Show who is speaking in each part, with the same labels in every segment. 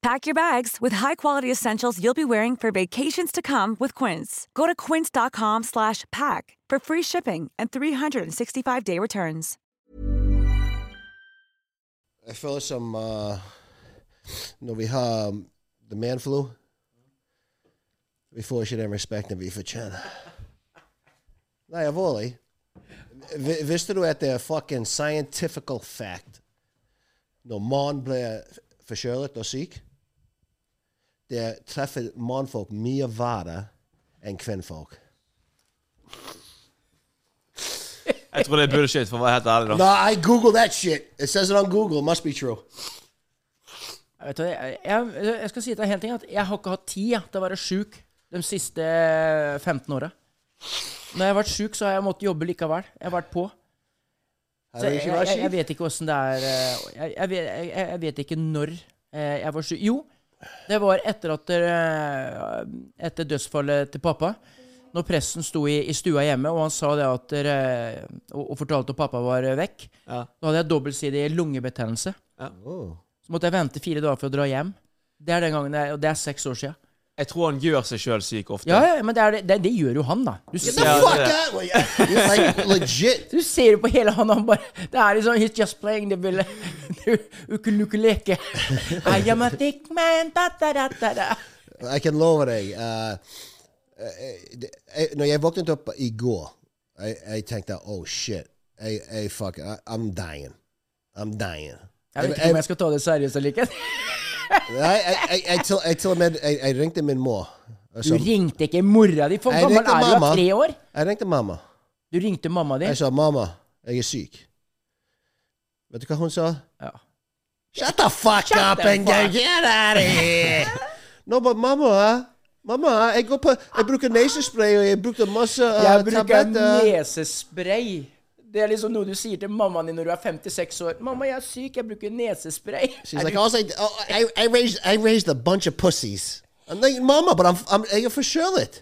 Speaker 1: Pack your bags with high-quality essentials you'll be wearing for vacations to come with Quince. Go to quince.com slash pack for free shipping and 365-day returns.
Speaker 2: Jeg føler som eh, når vi har um, The Man Flu Vi får ikke den respekten vi fortjener. Nei, alvorlig. Vi- Visste du at det er fucking scientific fact når mann blir forkjølet og syk? Det treffer mannfolk mye verre enn kvinnfolk.
Speaker 3: Jeg tror det er bullshit, for å være helt ærlig. da
Speaker 2: Nah, I Google that shit. It says it on Google. It must be true.
Speaker 4: Jeg, vet, hva, jeg, jeg, jeg skal si til deg en ting, at jeg har ikke hatt tid jeg, til å være sjuk de siste 15 åra. Når jeg har vært sjuk, så har jeg måttet jobbe likevel. Jeg har vært på.
Speaker 2: Har
Speaker 4: Så
Speaker 2: det
Speaker 4: jeg,
Speaker 2: ikke vært
Speaker 4: jeg, jeg
Speaker 2: kjipt?
Speaker 4: vet ikke åssen det er eh, jeg, jeg, vet, jeg, jeg vet ikke når eh, jeg var syk. Jo, det var etter at eh, Etter dødsfallet til pappa. Når presten sto i, i stua hjemme, og han sa det at eh, og, og fortalte at pappa var eh, vekk,
Speaker 3: Ja.
Speaker 4: da hadde jeg dobbeltsidig lungebetennelse.
Speaker 2: Oh.
Speaker 4: Så måtte jeg vente fire dager for å dra hjem. Det er den gangen, jeg, og det er seks år sia.
Speaker 3: Jeg tror han gjør seg sjøl syk ofte.
Speaker 4: Ja, ja, men det, er, det- det, det gjør jo han, da. Du ser,
Speaker 3: Ja,
Speaker 2: Fuck
Speaker 3: det er
Speaker 2: that!
Speaker 3: det.
Speaker 2: Like, like legit.
Speaker 4: du ser jo på hele han, han bare Det er liksom He's just playing the bill. Ukuleke. I am a thick man da, da, da, da, da.
Speaker 2: Jeg kan love deg. eh, eh, det- jeg, når jeg våknet opp i går, jeg, jeg tenkte oh shit. Jeg, jeg fuck, I, I'm dying. I'm dying.
Speaker 4: Jeg vet ikke om jeg skal ta det seriøst eller ikke.
Speaker 2: Nei, jeg, jeg, jeg, til, jeg til og med jeg, jeg ringte min mor. og
Speaker 4: Du
Speaker 2: så-
Speaker 4: ringte ikke mora di. For
Speaker 2: Jeg
Speaker 4: gammel
Speaker 2: ringte
Speaker 4: er du? da?
Speaker 2: mamma.
Speaker 4: Tre år?
Speaker 2: Jeg ringte mamma.
Speaker 4: Du ringte mamma di?
Speaker 2: Jeg sa 'mamma, jeg er syk'. Vet du hva hun sa?
Speaker 4: Ja.
Speaker 2: Shut the fuck
Speaker 4: Shut
Speaker 2: up
Speaker 4: the
Speaker 2: and go
Speaker 4: fuck.
Speaker 2: get out of here! Nå bare mamma Mamma, jeg går på Jeg bruker nesespray, og jeg brukte masse uh,
Speaker 4: Jeg bruker
Speaker 2: tabletter.
Speaker 4: nesespray. Det er liksom noe du sier til mammaen din når du er 56 år. 'Mamma, jeg er syk. Jeg bruker nesespray.'
Speaker 2: She's like, also, oh, I, I, raised, I raised a bunch of pussies. I'm like, mamma, but I'm, I'm, jeg er forkjølet.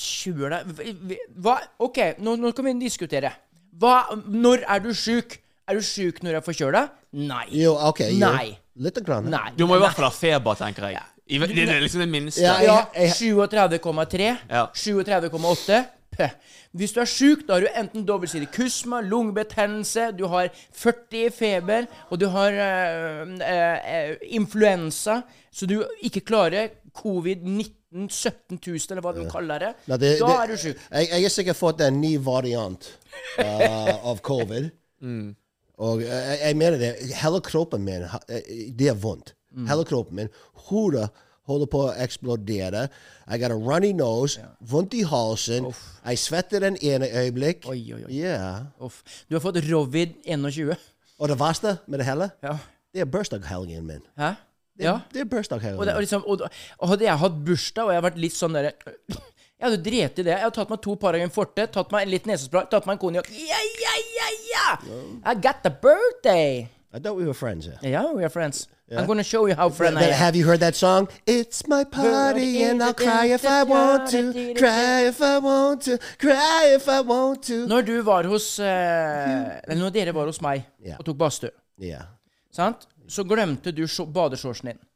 Speaker 4: Tjuer deg Hva? OK, nå, nå kan vi diskutere. Hva, når er du sjuk? Er du sjuk når du er forkjøla? Nei.
Speaker 2: Jo, OK. Jo.
Speaker 4: Nei.
Speaker 2: Litt grann.
Speaker 4: Nei.
Speaker 3: Du må i hvert fall ha feber, tenker jeg. I, det er liksom det minste.
Speaker 2: Ja,
Speaker 4: Ja,
Speaker 2: jeg- jeg-
Speaker 4: 37,3.
Speaker 3: Ja.
Speaker 4: 37,8. Pøh. Hvis du er sjuk, da har du enten dobbeltsidig kusma, lungebetennelse, du har 40 i feber, og du har øh, øh, øh, influensa, så du ikke klarer covid-19 17 000, eller hva de kaller det.
Speaker 2: Nei, det-
Speaker 4: da
Speaker 2: det-
Speaker 4: er du sjuk.
Speaker 2: Jeg, jeg har sikkert fått en ny variant uh, av covid.
Speaker 4: Mm.
Speaker 2: Og eh, jeg, jeg mener det. Hele kroppen min ha- eh, Det er vondt.
Speaker 4: Mm.
Speaker 2: Hele kroppen min. Hodet holder på å eksplodere. Jeg har en runny nose, vondt i halsen. Jeg svetter den ene øyeblikk.
Speaker 4: Oi, oi, oi.
Speaker 2: Yeah.
Speaker 4: Uff. Du har fått rovid 21.
Speaker 2: Og det verste med det hele,
Speaker 4: Ja.
Speaker 2: det er bursdagshelgen min.
Speaker 4: Hæ?
Speaker 2: Det,
Speaker 4: Ja. Oh,
Speaker 2: det er bursdagshelgen
Speaker 4: Og, det, og,
Speaker 2: min.
Speaker 4: liksom, og, og hadde jeg hatt bursdag, og jeg vært litt sånn derre Jeg hadde drept i det. Jeg hadde tatt meg to Paragon Forte, tatt meg litt nesespray, tatt meg en konjakk. Yeah, yeah, yeah, yeah! I got the birthday!
Speaker 2: I thought we were friends. Yeah.
Speaker 4: Yeah, we are friends. I'm gonna show you how friend I
Speaker 2: Th-
Speaker 4: am.
Speaker 2: have you heard that song? It's my party and I'll cry if I want to, cry if I want to, cry if I want to.
Speaker 4: Når du var hos eh, Eller når dere var hos meg
Speaker 2: Ja.
Speaker 4: og tok badstue,
Speaker 2: Ja,
Speaker 4: sant? så glemte du sjo- badeshortsen din.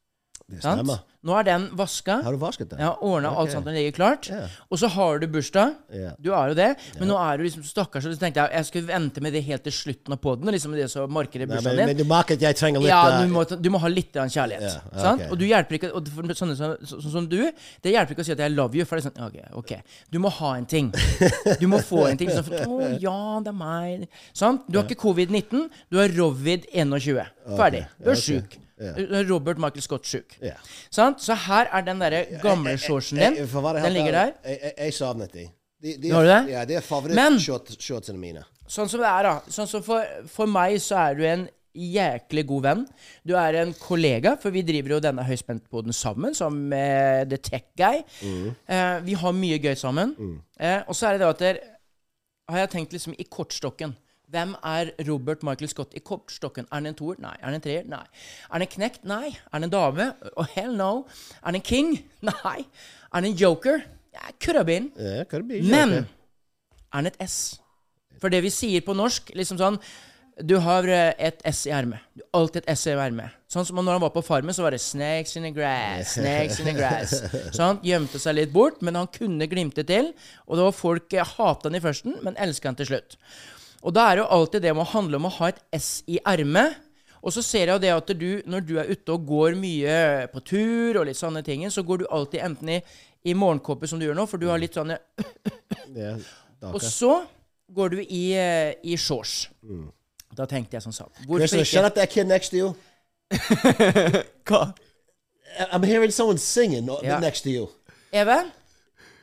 Speaker 2: det
Speaker 4: Sant?
Speaker 2: stemmer.
Speaker 4: Nå er den vaska.
Speaker 2: Har du vasket den?
Speaker 4: Jeg har ordna alt sånt den ligger klart. Og så har du bursdag.
Speaker 2: Ja.
Speaker 4: Du er jo det. Men nå er du liksom stakkars, og så tenkte jeg jeg skulle vente med det helt til slutten av poden. Liksom det som markerer
Speaker 2: Nei, men,
Speaker 4: bursdagen
Speaker 2: men du
Speaker 4: din.
Speaker 2: merker at jeg trenger litt
Speaker 4: Ja,
Speaker 2: eh,
Speaker 4: du må, ta- du må ha litt grann kjærlighet.
Speaker 2: Ja,
Speaker 4: sant?
Speaker 2: ok.
Speaker 4: Og du hjelper ikke og for sånne som, så, sånn som du, det hjelper ikke å si at 'I love you'. For det er sånn, ok, ok. Du må ha en ting. Du må få en ting. Sånn, for, 'Å ja, det er meg'. Sant? Du har ikke covid-19, du har rovid-21. Ferdig. Du er sjuk. Du er Robert Michael Scott-sjuk.
Speaker 2: Ja.
Speaker 4: Sant? Så her er den derre gamle shortsen din.
Speaker 2: Jeg- for å være helt
Speaker 4: Den ligger der.
Speaker 2: ærlig, Jeg, jeg, jeg savnet de. de, de
Speaker 4: Har du det?
Speaker 2: Ja, de er
Speaker 4: Men-
Speaker 2: favorittshortsene mine.
Speaker 4: Sånn som det er, da. Sånn som for, for meg så er du en jæklig god venn. Du er en kollega, for vi driver jo denne høyspentboden sammen, som eh, The Tech Guy. Eh, vi har mye gøy sammen. Eh, og så er det det at der, har jeg tenkt liksom i kortstokken. Hvem er Robert Michael Scott i kortstokken? Er han en toer? Nei. Er han en treer? Nei. Er han en knekt? Nei. Er han en dame? Oh, hell no. Er han en king? Nei. Er han en joker? Ja, could have been.
Speaker 2: Ja, could be,
Speaker 4: Men
Speaker 2: okay.
Speaker 4: er den et S? For det vi sier på norsk, liksom sånn Du har eh, et S i ermet. Du har alltid et S i ermet. Sånn som når han var på Farmen, så var det 'snakes in the grass', 'snakes in the grass'. Så han gjemte seg litt bort, men han kunne glimte til. Og det var folk eh, hatet han i førsten, men elsket han til slutt. Og da er det jo alltid det med å handle om å ha et S i ermet. Og så ser jeg jo det at du, når du er ute og går mye på tur og litt sånne ting, så går du alltid enten i, i morgenkåpe, som du gjør nå, for du har litt sånne
Speaker 2: Ja,
Speaker 4: og så går du i, eh, i shorts. Da tenkte jeg sånn sånn Hvorfor
Speaker 2: Christopher, shut
Speaker 4: ikke?
Speaker 2: up that kid next to you. I- I'm hearing someone singing o-
Speaker 4: Ja.
Speaker 2: next to you.
Speaker 4: Even,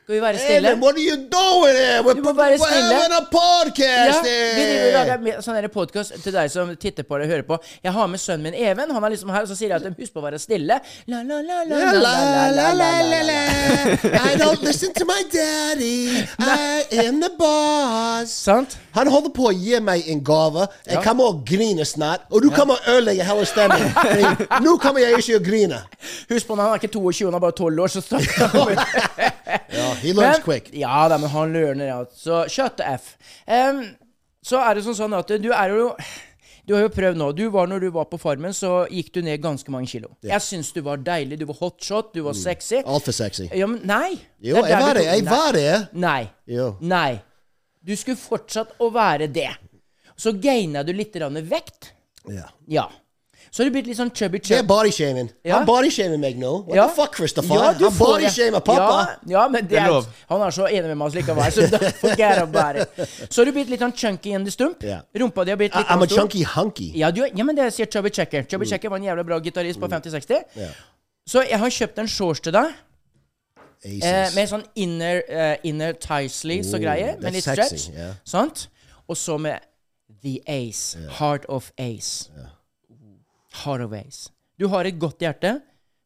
Speaker 4: skal vi være stille?
Speaker 2: Evan, what are you doing here? We're,
Speaker 4: Du må være
Speaker 2: we're
Speaker 4: stille.
Speaker 2: having a
Speaker 4: Ja,
Speaker 2: podcast
Speaker 4: vi driver
Speaker 2: here.
Speaker 4: og lager med- sånn podkast til deg som titter på det og hører på. Jeg har med sønnen min Even. Han er liksom her, og så sier jeg at husk på å være stille. La, la, la, la,
Speaker 2: La,
Speaker 4: la, la, la, la, la, la.
Speaker 2: la. I don't listen to my daddy. I am the boss.
Speaker 4: Sant?
Speaker 2: Han holder på å gi meg en gave. Jeg kommer og griner snart. Og du kommer og ødelegger hele stemningen. Fordi Nå kommer jeg ikke å grine.
Speaker 4: Husk på, han er ikke 22, han er bare 12 år, så snakker han
Speaker 2: Ja, he learns
Speaker 4: Men-
Speaker 2: quick.
Speaker 4: Ja da, men han learner, ja. Så shut the F. Em, så er det sånn, sånn at du er jo Du har jo prøvd nå. Du var, når du var på Farmen, så gikk du ned ganske mange kilo. Jeg syns du var deilig. Du var hotshot, du var
Speaker 2: Mm.
Speaker 4: sexy.
Speaker 2: Altfor sexy.
Speaker 4: Ja, men nei.
Speaker 2: Jo,
Speaker 4: Det
Speaker 2: jeg
Speaker 4: er der
Speaker 2: var
Speaker 4: du
Speaker 2: det.
Speaker 4: tok-
Speaker 2: Jeg
Speaker 4: Nei.
Speaker 2: var det.
Speaker 4: Nei.
Speaker 2: Jo.
Speaker 4: Nei. Du skulle fortsatt å være det. Så gaina du litt grann vekt.
Speaker 2: Ja.
Speaker 4: Ja. Så har du blitt litt sånn chubby
Speaker 2: Det er
Speaker 4: chub.
Speaker 2: bodyshaming.
Speaker 4: Ja.
Speaker 2: Han bodyshamer meg nå. What
Speaker 4: Ja.
Speaker 2: the fuck, Christopher?
Speaker 4: Ja, du
Speaker 2: han
Speaker 4: får det.
Speaker 2: bodyshamer pappa.
Speaker 4: Ja, ja men det
Speaker 3: Det er
Speaker 4: er,
Speaker 3: lov.
Speaker 4: han er så enig med meg oss likevel, så da forget about it. Så har du blitt litt sånn chunky in the stump.
Speaker 2: Ja.
Speaker 4: Rumpa di har blitt
Speaker 2: I,
Speaker 4: litt sånn
Speaker 2: I'm a
Speaker 4: stor.
Speaker 2: chunky Mm. hunky.
Speaker 4: Ja, du, ja, men det sier Chubby Checker. Chubby Checker var en jævla bra gitarist på 50-60. Så jeg har kjøpt en shorts til deg.
Speaker 2: Aces.
Speaker 4: Eh, med sånn inner, eh, inner tie sleeves og greier. Med
Speaker 2: that's
Speaker 4: litt
Speaker 2: sexy,
Speaker 4: stretch.
Speaker 2: yeah.
Speaker 4: Sant? Og så med The Ace. Heart of Ace. Heart of Ace. Du har et godt hjerte.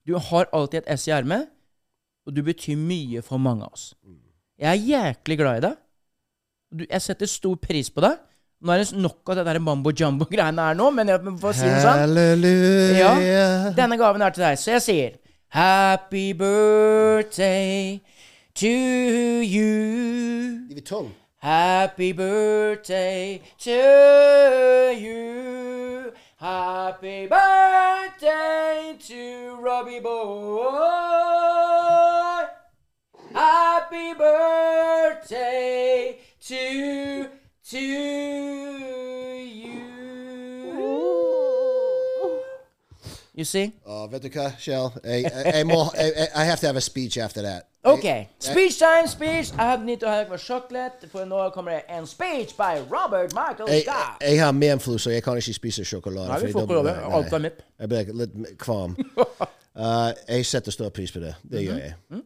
Speaker 4: Du har alltid et S i ermet. Og du betyr mye for mange av oss.
Speaker 2: Mm.
Speaker 4: Jeg er jæklig glad i deg. Du, jeg setter stor pris på deg. Nå er det nok av det der mambo jumbo-greiene her nå, men jeg får si det sånn.
Speaker 2: Halleluja.
Speaker 4: Ja. Denne gaven er til deg, så jeg sier Happy birthday to you.
Speaker 2: Give it tongue.
Speaker 4: Happy birthday to you. Happy birthday to Robbie Boy. Happy birthday to to you. You see?
Speaker 2: Oh, vet du hva, Kjell? Jeg, jeg, jeg må jeg, jeg- I have to have a speech after that.
Speaker 4: Okay, speech time, speech. I need to have a chocolate, for nå kommer det en speech by Robert Michael
Speaker 2: Jeg,
Speaker 4: Scott.
Speaker 2: jeg har menflu, så jeg kan ikke spise sjokolade.
Speaker 4: Nei, vi
Speaker 2: fordi
Speaker 4: får
Speaker 2: da-
Speaker 4: ikke lov.
Speaker 2: nei, nei.
Speaker 4: Alt er mitt.
Speaker 2: Jeg blir litt kvalm. Eh, jeg setter stor pris på det.
Speaker 4: Mhm.
Speaker 2: Det gjør jeg. Ja.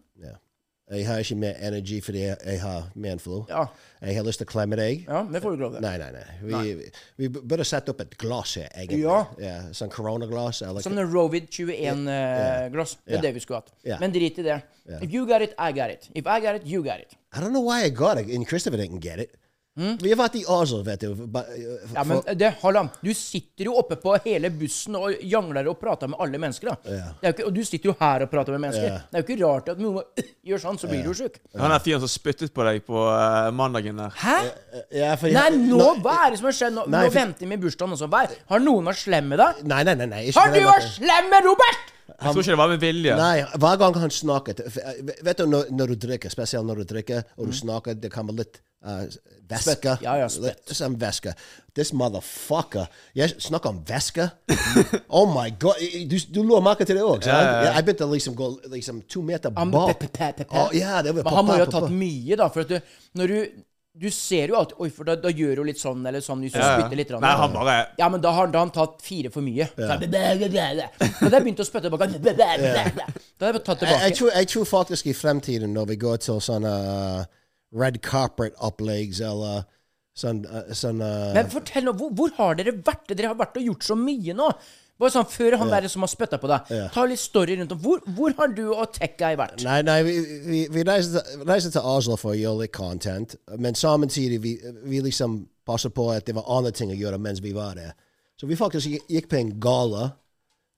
Speaker 2: Jeg har ikke mer energi fordi jeg, jeg har menflu.
Speaker 4: Ja.
Speaker 2: Jeg har lyst til å klemme deg.
Speaker 4: Ja, det får du ikke lov til.
Speaker 2: Nei, nei, nei. Vi, vi burde sette opp et glass her, egentlig.
Speaker 4: Ja.
Speaker 2: sånn koronaglass. Eller
Speaker 4: Som en Rovid 21-glass. det
Speaker 2: Ja.
Speaker 4: er det vi skulle hatt.
Speaker 2: Ja.
Speaker 4: Men drit i det. If you got it, I got it. If I got it, you got it.
Speaker 2: I don't know why I got it, and Christopher didn't get it. Vi har vært i Oslo, vet du. ba- uh, for-
Speaker 4: Hmm? Ja, men det, Hallam, du sitter jo oppe på hele bussen og jangler og prater med alle mennesker. da. Det er jo ikke, og du sitter jo her og prater med mennesker.
Speaker 2: Ja.
Speaker 4: Det er jo ikke rart at noen gjør sånn, så blir du jo sjuk.
Speaker 3: Han er fyren som spyttet på deg på eh, mandagen der.
Speaker 4: Hæ?
Speaker 2: ja, fordi-
Speaker 4: Nei, nå, hva er det som har skjedd? Nå,
Speaker 2: Nei,
Speaker 4: nå
Speaker 2: for-
Speaker 4: venter vi med bursdagen også. Hva er, har noen vært slem med deg?
Speaker 2: Nei, nei, nei. nei ikke på
Speaker 4: Har du
Speaker 2: den
Speaker 4: vært
Speaker 2: måten.
Speaker 4: slem med Robert?!
Speaker 3: Jeg tror ikke det var med vilje.
Speaker 2: Nei, hver gang han snakket f- eh, Vet du når, når du drikker, spesielt når du drikker, og du snakker, det kommer litt eh, væske.
Speaker 4: Hmm? Ja, ja, spett.
Speaker 2: Litt sånn væske. This motherfucker. Jeg snakker om væske. oh my god. Du, du lå merke til det òg? Jeg begynte liksom gå liksom to meter Oh,
Speaker 4: Ja, men
Speaker 2: bak.
Speaker 4: pe- pe- pe- pe- pe.
Speaker 2: Å, Ah, ja, det var
Speaker 4: Men han må jo ha
Speaker 2: pa- pa-
Speaker 4: tatt
Speaker 2: pa-
Speaker 4: mye, da. For at du, når du Du ser jo alltid Oi, for da, da gjør du litt sånn eller sånn hvis du spytter litt. grann.
Speaker 3: Nei, han bare
Speaker 4: Ja, men da har da har han tatt fire for mye. Så han- Da hadde jeg begynt å spytte tilbake. Da hadde jeg tatt
Speaker 2: jeg, jeg,
Speaker 4: tilbake.
Speaker 2: tror, jeg tror faktisk i fremtiden, når vi går til sånne eh, red carpet-opplegg eller sånn, eh, sånn eh,
Speaker 4: Men fortell nå, hvor, hvor har dere vært? Dere har vært og gjort så mye nå. Bare sånn, Før han der som har spytta på deg. Ta litt story rundt om. Hvor, hvor har du og Tech-guy vært?
Speaker 2: Nei, nei, vi, vi, vi reiser, til, reiser til Oslo for å gjøre litt content, men samtidig vi, vi liksom passer på at det var andre ting å gjøre mens vi var der. Så vi faktisk gikk- gikk på en gala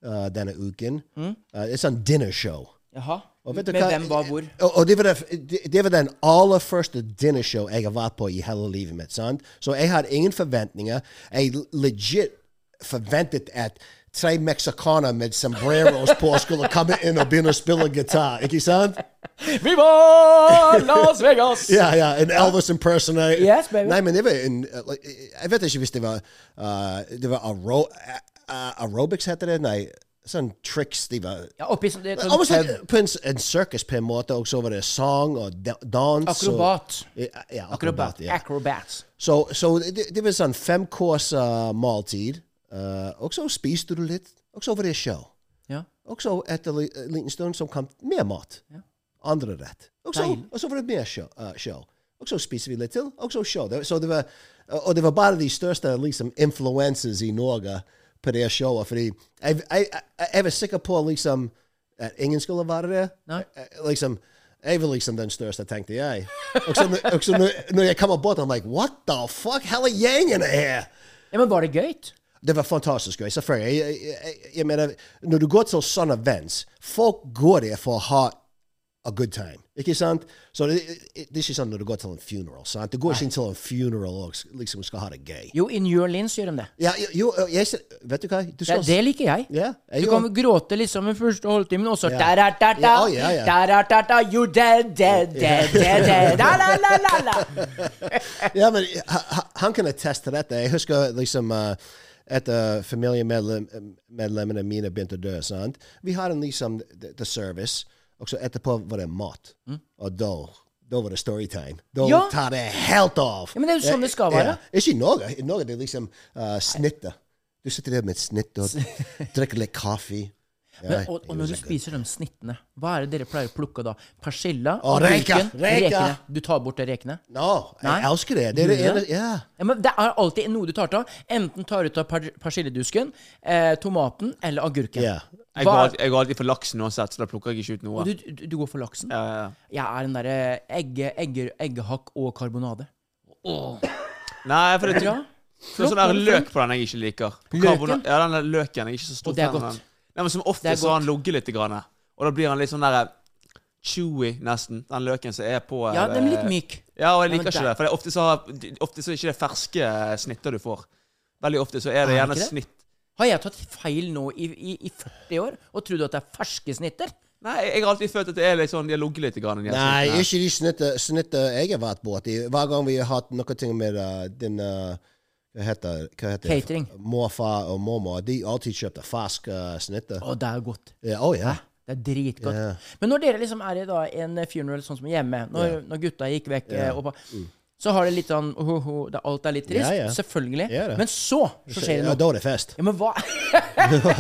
Speaker 2: eh, denne uken. Eh, det er sånn dinnershow.
Speaker 4: Jaha.
Speaker 2: Og
Speaker 4: Med
Speaker 2: vet du hva-
Speaker 4: hvem, hva, hvor?
Speaker 2: Og, og det, var det, det var den aller første dinnershow jeg har vært på i hele livet mitt. sant? Så jeg hadde ingen forventninger. Jeg legit forventet at tre meksikanere med sombreros på skulle komme inn og begynne å spille gitar. Ikke sant?
Speaker 4: Vi var Las Vegas!
Speaker 2: Ja, ja. En Elvis impersonator.
Speaker 4: Ah. Yes, baby.
Speaker 2: Nei, men det var en eh, like, Jeg vet ikke hvis det var eh, Det var aero, eh, eh, aerobics, heter det? Nei, sånn triks. De var
Speaker 4: Ja, oppi sånn, det, er sånn
Speaker 2: Almost like på en, en circus på en måte, og så var det sang og da- dans.
Speaker 4: Akrobat.
Speaker 2: Og, ja, ja,
Speaker 4: Akrobat.
Speaker 2: akrobat. ja.
Speaker 4: Acrobats.
Speaker 2: Så, så det, det var sånn femkors eh, måltid, eh, og så spiste du litt, og så var det show.
Speaker 4: Ja.
Speaker 2: Og så etter li- en liten stund så kom mer mat. Andre rett. Og så,
Speaker 4: Deilig.
Speaker 2: og så var det mer show, eh, show. Og så spiser vi litt til, og så show. Det, så det var, eh, og det var bare de største liksom, influences i Norge på det showet. Fordi jeg, jeg, jeg, jeg var sikker på liksom, at ingen skulle være der.
Speaker 4: Nei.
Speaker 2: Eh, Liksom, jeg var liksom den største, tenkte jeg. Og så, og så når, når jeg kommer bort, I'm like, what the fuck? Hele gjengen er her!
Speaker 4: Ja, men var det gøy?
Speaker 2: Det var fantastisk gøy, selvfølgelig. Jeg, jeg, jeg, jeg mener, når du går til sånne events, folk går der for å ha a good time, ikke sant? Så det, det er ikke sånn når du går til en funeral, sant? Du går ikke til en funeral og s- liksom skal ha det gøy.
Speaker 4: Jo, in your lins gjør de det.
Speaker 2: Ja, jo, jo, jeg, ser- vet du hva? Du
Speaker 4: Det,
Speaker 2: skal...
Speaker 4: det liker jeg.
Speaker 2: Ja, jeg
Speaker 4: Du
Speaker 2: gjør-
Speaker 4: kan gråte liksom den første halvtimen, og så
Speaker 2: Ja.
Speaker 4: da-da-da-da.
Speaker 2: Ja, ja, ja.
Speaker 4: Da-da-da-da, you dead, dead, dead, dead, dead. La-la-la-la-la.
Speaker 2: ja, men ha- ha- han kan atteste til dette. Jeg husker liksom eh, etter familiemedlemmene mine begynte å dø. sant? Vi hadde liksom the, the service, og så etterpå var det mat. Og da da var det storytime. Da
Speaker 4: Mm. Ja.
Speaker 2: tar det helt av. Eh,
Speaker 4: Ja, men det er jo sånn det skal være.
Speaker 2: Ja. Ikke i Norge. I Norge det er liksom uh, snittet. Du sitter der med et snitt og drikker litt kaffe. Ja,
Speaker 4: Men, og, og
Speaker 2: jo,
Speaker 4: når du
Speaker 2: sikkert.
Speaker 4: spiser de snittene, hva er det dere pleier å plukke da? Persilla
Speaker 2: Å,
Speaker 4: og
Speaker 2: reker,
Speaker 4: bacon?
Speaker 2: reker.
Speaker 4: Rekene. Du tar bort de rekene?
Speaker 2: No, jeg
Speaker 4: Nei.
Speaker 2: elsker det. Det er det
Speaker 4: Gjør
Speaker 2: ene
Speaker 4: det?
Speaker 2: Ja.
Speaker 4: Ja, men det er alltid noe du tar av. Enten tar du ut av per persilledusken, eh, tomaten eller agurken.
Speaker 2: Ja.
Speaker 3: Jeg går,
Speaker 4: Hva-
Speaker 3: alltid, jeg går alltid for laksen uansett, så da plukker jeg ikke ut noe.
Speaker 4: Og du, du, du går for laksen?
Speaker 3: Ja, ja, ja.
Speaker 4: Jeg er den derre egge, egge, eggehakk og karbonade.
Speaker 3: Nei, for det
Speaker 4: Bra.
Speaker 3: Det er sånn der
Speaker 4: Flott,
Speaker 3: løk på den jeg ikke liker.
Speaker 4: Løken?
Speaker 3: Karbona- Ja, den der løken. Jeg er ikke så stor
Speaker 4: Og det er
Speaker 3: fan av
Speaker 4: godt.
Speaker 3: den. Nei, men som
Speaker 4: Det
Speaker 3: ofte
Speaker 4: er
Speaker 3: så
Speaker 4: godt.
Speaker 3: har han ligget litt, grann, og da blir han litt sånn der chewy, nesten. Den løken som er på
Speaker 4: Ja,
Speaker 3: eh,
Speaker 4: den er litt myk.
Speaker 3: Ja, og jeg liker
Speaker 4: Ja, men
Speaker 3: ikke
Speaker 4: der-
Speaker 3: det. For det er ofte så, har- ofte så er ikke det ferske snitter du får. Veldig ofte så er det
Speaker 4: Er det
Speaker 3: gjerne
Speaker 4: ikke det?
Speaker 3: snitt.
Speaker 4: Har jeg tatt feil nå i, i, i 40 år og trodd at det er ferske snitter?
Speaker 3: Nei, jeg har alltid følt at det er litt sånn De har ligget litt. Grann, i de her
Speaker 2: Nei,
Speaker 3: snittene.
Speaker 2: ikke de snittet, snittet jeg har vært borti. Hver gang vi har hatt noe ting med uh, din uh, hva heter, hva heter det?
Speaker 4: Catering.
Speaker 2: Morfar og mormor. De alltid kjøpte fersk uh, snitte.
Speaker 4: Å, det er godt.
Speaker 2: Ja, oh, ja.
Speaker 4: Det er dritgodt.
Speaker 2: Ja.
Speaker 4: Men når dere liksom er i da, en funeral sånn som hjemme, når, når gutta gikk vekk eh, og ba- så har det litt sånn ho, ho, det, Alt er litt trist.
Speaker 2: Mm. Ja, ja. Selvfølgelig.
Speaker 4: Selvfølgelig.
Speaker 2: Ja, det.
Speaker 4: men så, så skjer det
Speaker 2: Ja,
Speaker 4: noe.
Speaker 2: da er det fest.
Speaker 4: Ja, men hva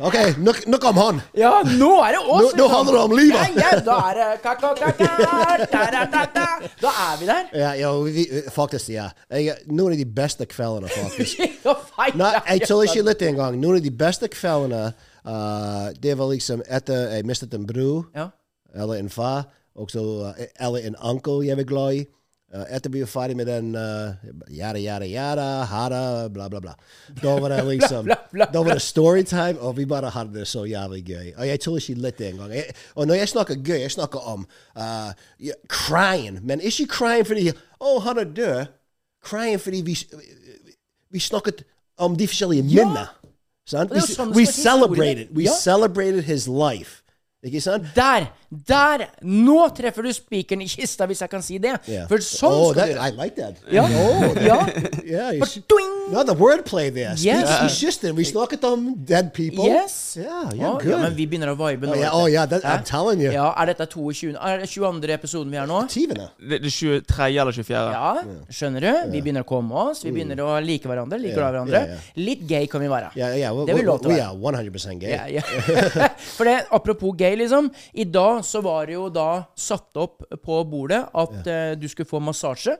Speaker 2: OK, nok, nok om han.
Speaker 4: Ja, nå er det oss!
Speaker 2: Nå- nå handler det om livet.
Speaker 4: Ja, ja, da er det ka-ka-ka-ka, ta-ra-ta-ta. Da er vi der.
Speaker 2: Ja, ja, vi, faktisk, ja. Jeg, noen av de beste kveldene, faktisk.
Speaker 4: Ja, feil.
Speaker 2: Nei, jeg tuller ikke litt engang. Noen av de beste kveldene, uh, det var liksom etter jeg mistet en bror.
Speaker 4: Ja.
Speaker 2: uh, E- eller en far, og så eh, eller en onkel jeg var glad i. Eh, Etter vi var ferdig med den eh, Yada, yada, yada, hada, bla, bla, bla. Da var det liksom
Speaker 4: bla, bla,
Speaker 2: Da var
Speaker 4: bla.
Speaker 2: det storytime, og vi bare hadde det så jævlig gøy. Og jeg tror ikke litt engang. Jeg- Og når jeg snakker gøy, jeg snakker om eh, ja, crying. Men ikke crying fordi Å, han er død. Crying fordi vi, vi snakket om de forskjellige
Speaker 4: Ja.
Speaker 2: minnene. Sant?
Speaker 4: Og
Speaker 2: We,
Speaker 4: det er jo sånn det
Speaker 2: we
Speaker 4: skal være historie.
Speaker 2: celebrated. We
Speaker 4: Ja.
Speaker 2: celebrated his life. Ikke sant?
Speaker 4: Der! Der! Nå treffer du spikeren i kista, hvis jeg kan si det.
Speaker 2: Yeah.
Speaker 4: For sånn
Speaker 2: oh,
Speaker 4: skal
Speaker 2: that,
Speaker 4: du
Speaker 2: I like that.
Speaker 4: Ja.
Speaker 2: Oh, that-
Speaker 4: ja.
Speaker 2: yeah. you
Speaker 4: But
Speaker 2: s-
Speaker 4: doing-
Speaker 2: no, the wordplay there. Speak-
Speaker 4: Yes. Uh-uh.
Speaker 2: Speak system. We snack at them dead people.
Speaker 4: Yes.
Speaker 2: Yeah,
Speaker 4: Å,
Speaker 2: you're good.
Speaker 4: Ja, men vi begynner å vibe
Speaker 2: Oh,
Speaker 4: nå.
Speaker 2: yeah,
Speaker 4: vet du.
Speaker 2: oh, yeah, that- I'm
Speaker 4: Hæ?
Speaker 2: telling you.
Speaker 4: Ja, Er dette 22. Er det 22. episoden vi er nå?
Speaker 2: Tivana.
Speaker 3: Det det er 23. eller 24.
Speaker 4: Ja, skjønner du? Vi begynner å komme oss. Vi begynner å like hverandre. Like glad i hverandre.
Speaker 2: Mm. ja, ja.
Speaker 4: Litt gay kan vi være.
Speaker 2: Yeah, yeah. We,
Speaker 4: Det er vi
Speaker 2: we,
Speaker 4: lov til å
Speaker 2: we
Speaker 4: være.
Speaker 2: are 100% gay.
Speaker 4: Ja, ja. For det, apropos gay, liksom. I dag så var det jo da satt opp på bordet at eh, du skulle få massasje.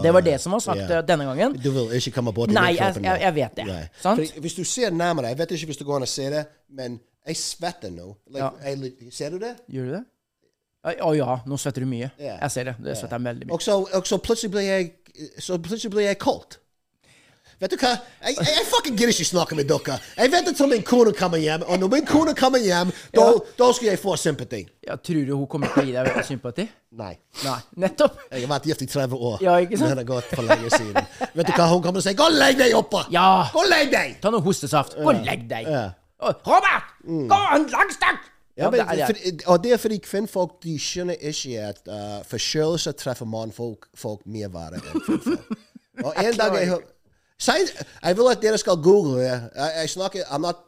Speaker 4: Det var det som var sagt
Speaker 2: ja.
Speaker 4: eh, denne gangen.
Speaker 2: øh, Du vil ikke komme bort i
Speaker 4: Nei,
Speaker 2: den
Speaker 4: jeg,
Speaker 2: kroppen
Speaker 4: jeg,
Speaker 2: der.
Speaker 4: jeg vet det. er-
Speaker 2: Nei.
Speaker 4: Sant?
Speaker 2: Fordi Hvis du ser nærmere, jeg vet ikke hvis du går an å se det, men jeg svetter nå. Like,
Speaker 4: Ja.
Speaker 2: jeg li- ser du det?
Speaker 4: Gjør du det? Å å ja, nå svetter du mye.
Speaker 2: Ja.
Speaker 4: Jeg ser det. Det svetter jeg veldig mye.
Speaker 2: Og så, og så plutselig blir jeg Så plutselig blir jeg kaldt. Vet du hva? Jeg, jeg, jeg fucking gidder ikke snakke med dere. Jeg venter til min kone kommer hjem, og når min kone kommer hjem, da, da skal jeg få sympati.
Speaker 4: Ja, tror du hun kommer til å gi deg sympati?
Speaker 2: Nei.
Speaker 4: Nei. Nettopp!
Speaker 2: Jeg har vært gift i 30 år.
Speaker 4: Ja, ikke sant?
Speaker 2: Men Det har gått for lenge siden. Vet du hva hun kommer til å si? Gå og legg deg oppe!
Speaker 4: Ja.
Speaker 2: Gå og legg deg!
Speaker 4: Ta noe hostesaft. Gå og legg deg.
Speaker 2: Ja. Mm.
Speaker 4: Å, Robert! Gå en langstang!
Speaker 2: Ja, men,
Speaker 4: det er det.
Speaker 2: for, eh, og det er fordi kvinnfolk de skjønner ikke at uh, forkjølelse treffer mannfolk folk mye verre enn kvinnfolk. Og en dag jeg hø- Sein- Jeg vil at dere skal google det. Jeg, jeg snakker I'm not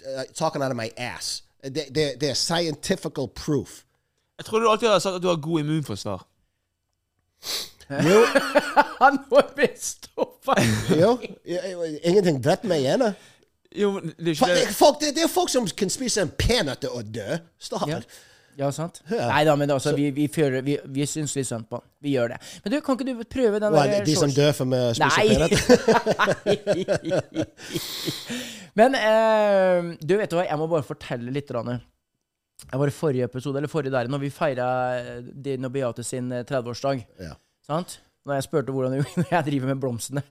Speaker 2: uh, talking out of my ass. Det, det, det er scientific proof.
Speaker 3: Jeg trodde du alltid hadde sagt at du har god immunforsvar.
Speaker 2: Jo,
Speaker 4: Han må bli stoppa.
Speaker 2: jo, jo, ingenting drepte meg igjen. da.
Speaker 3: Jo, men det er
Speaker 2: Fa-
Speaker 3: ikke det.
Speaker 2: Folk, det, det er folk som kan spise en peanøtt og dø. Stopp.
Speaker 4: Ja. Ja, sant? Nei da, men altså, vi, vi, fører, vi, vi syns litt synd på han. Vi gjør det. Men du, kan ikke du prøve den
Speaker 2: Well,
Speaker 4: der
Speaker 2: de som
Speaker 4: shorts-
Speaker 2: dør for å spise peanøtt.
Speaker 4: Nei! Men eh, du vet du hva, jeg må bare fortelle litt. Rane. Jeg var i forrige episode, eller forrige der, når vi feira din og Beate sin eh, 30-årsdag.
Speaker 2: Ja.
Speaker 4: Sant? Når jeg spurte hvordan når jeg driver med blomstene,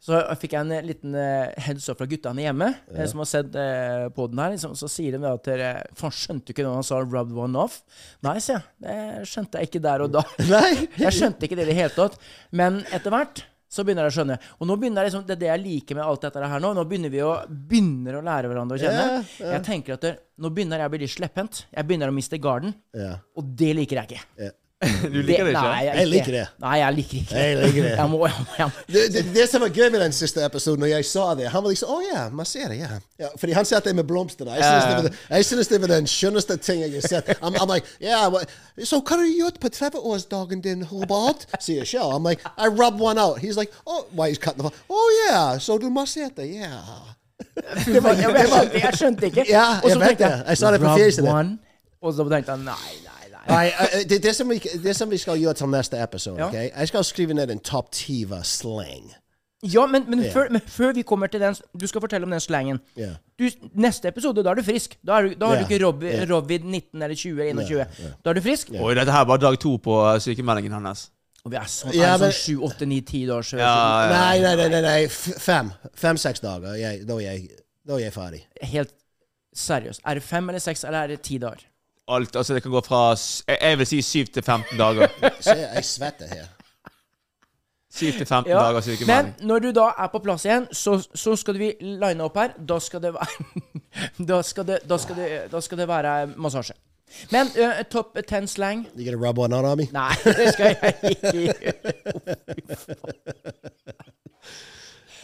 Speaker 4: så fikk jeg en eh, liten eh, heads up fra guttene hjemme eh, som har sett eh, på den her. Liksom, så sier de da at dere Faen, skjønte du ikke når han sa 'rub one off'? Nei, sier jeg. Det skjønte jeg ikke der og da.
Speaker 2: Nei.
Speaker 4: Jeg skjønte ikke det i det hele tatt. Men etter hvert så begynner jeg å skjønne. Og nå begynner jeg liksom, det er det jeg liker med alt dette her nå. Nå begynner vi å, begynner å lære hverandre å kjenne. Jeg tenker at det, nå begynner jeg å bli litt slepphendt. Jeg begynner å miste garden.
Speaker 2: Ja.
Speaker 4: Og det liker jeg ikke.
Speaker 3: Du liker det
Speaker 4: Nei,
Speaker 3: ikke?
Speaker 4: jeg,
Speaker 2: Jeg
Speaker 4: ikke.
Speaker 2: liker det.
Speaker 4: Nei, jeg liker ikke
Speaker 2: Jeg liker det.
Speaker 4: Jeg må, jeg må, jeg må.
Speaker 2: Det, det, det som var gøy med den siste episoden, når jeg sa det Han var liksom Å ja, massere, ja. ja. Fordi han satt der med blomster. da. Jeg synes det var det- Jeg synes det var den skjønneste ting jeg har sett. I'm, I'm like, yeah, what, so hva har du gjort på 30-årsdagen din, Robert? Sier Shell. I'm like, I rub one out. He's like, oh, why he's cutting the Oh yeah, so du masserte, yeah.
Speaker 4: Det var, jeg, jeg, skjønte, jeg skjønte ikke.
Speaker 2: Ja,
Speaker 4: Og
Speaker 2: jeg
Speaker 4: så
Speaker 2: vet
Speaker 4: tenkte
Speaker 2: det. Jeg sa det på fjeset ditt.
Speaker 4: Rub one. Og så tenkte jeg nei, nei, nei.
Speaker 2: Nei, eh, det, det, som vi, det som vi skal gjøre til neste episode,
Speaker 4: Ja.
Speaker 2: ok? Jeg skal skrive ned en topp 10 slang.
Speaker 4: Ja, men, men, før, men før vi kommer til den Du skal fortelle om den slangen.
Speaker 2: Ja.
Speaker 4: Du, neste episode, da er du frisk. Da, er du, da har
Speaker 2: Ja,
Speaker 4: du ikke Rob,
Speaker 2: ja.
Speaker 4: Rovid 19 eller 20 eller 21. Da er du frisk.
Speaker 3: Oi, dette her er bare dag to på eh, sykemeldingen hans.
Speaker 4: Og vi er sånn,
Speaker 2: Ja,
Speaker 4: er
Speaker 2: men-
Speaker 4: sånn 7, 8, 9, 10 dager siden.
Speaker 3: Ja, ja.
Speaker 2: Nei, nei, nei, nei, nei. f- fem. Fem-seks dager. Jeg, da, er jeg, da er jeg ferdig.
Speaker 4: Helt seriøst. Er det 5 eller 6, eller er det 10 dager?
Speaker 3: Alt, altså Det kan gå fra s- Jeg, jeg vil si 7 til 15 dager.
Speaker 2: Se, jeg svetter her.
Speaker 3: 7 til 15
Speaker 4: Ja,
Speaker 3: dager
Speaker 4: Men
Speaker 3: sykemelding.
Speaker 4: når du da er på plass igjen, så, så skal vi line opp her. Da skal det være Da skal det, da skal det, da skal det være massasje. Men eh, topp 10 slang
Speaker 2: You gonna rub one out on me?
Speaker 4: Nei, det skal jeg ikke gjøre.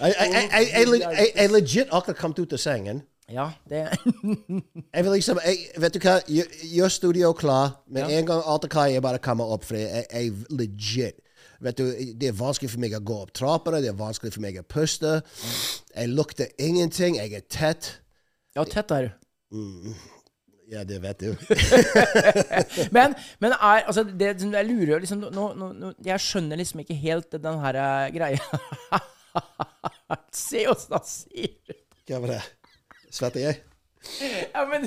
Speaker 2: I, I, I, I, I, le- I, I legit akkurat kommet ut av sengen.
Speaker 4: Ja, det
Speaker 2: Jeg vil liksom, jeg, vet du hva, gjør gjør studio klar, men en gang alt er klar, jeg bare kommer opp, for jeg, jeg legit, vet du, det er vanskelig for meg å gå opp trappene, det er vanskelig for meg å puste, jeg lukter ingenting, jeg er tett.
Speaker 4: Ja, tett er du.
Speaker 2: Ja, det vet du.
Speaker 4: Men, men er, altså, det, som jeg lurer liksom, nå, nå, nå, Jeg skjønner liksom ikke helt den her eh, greia. Se åssen han sier det.
Speaker 2: Hva var det? Svetter jeg?
Speaker 4: Ja, men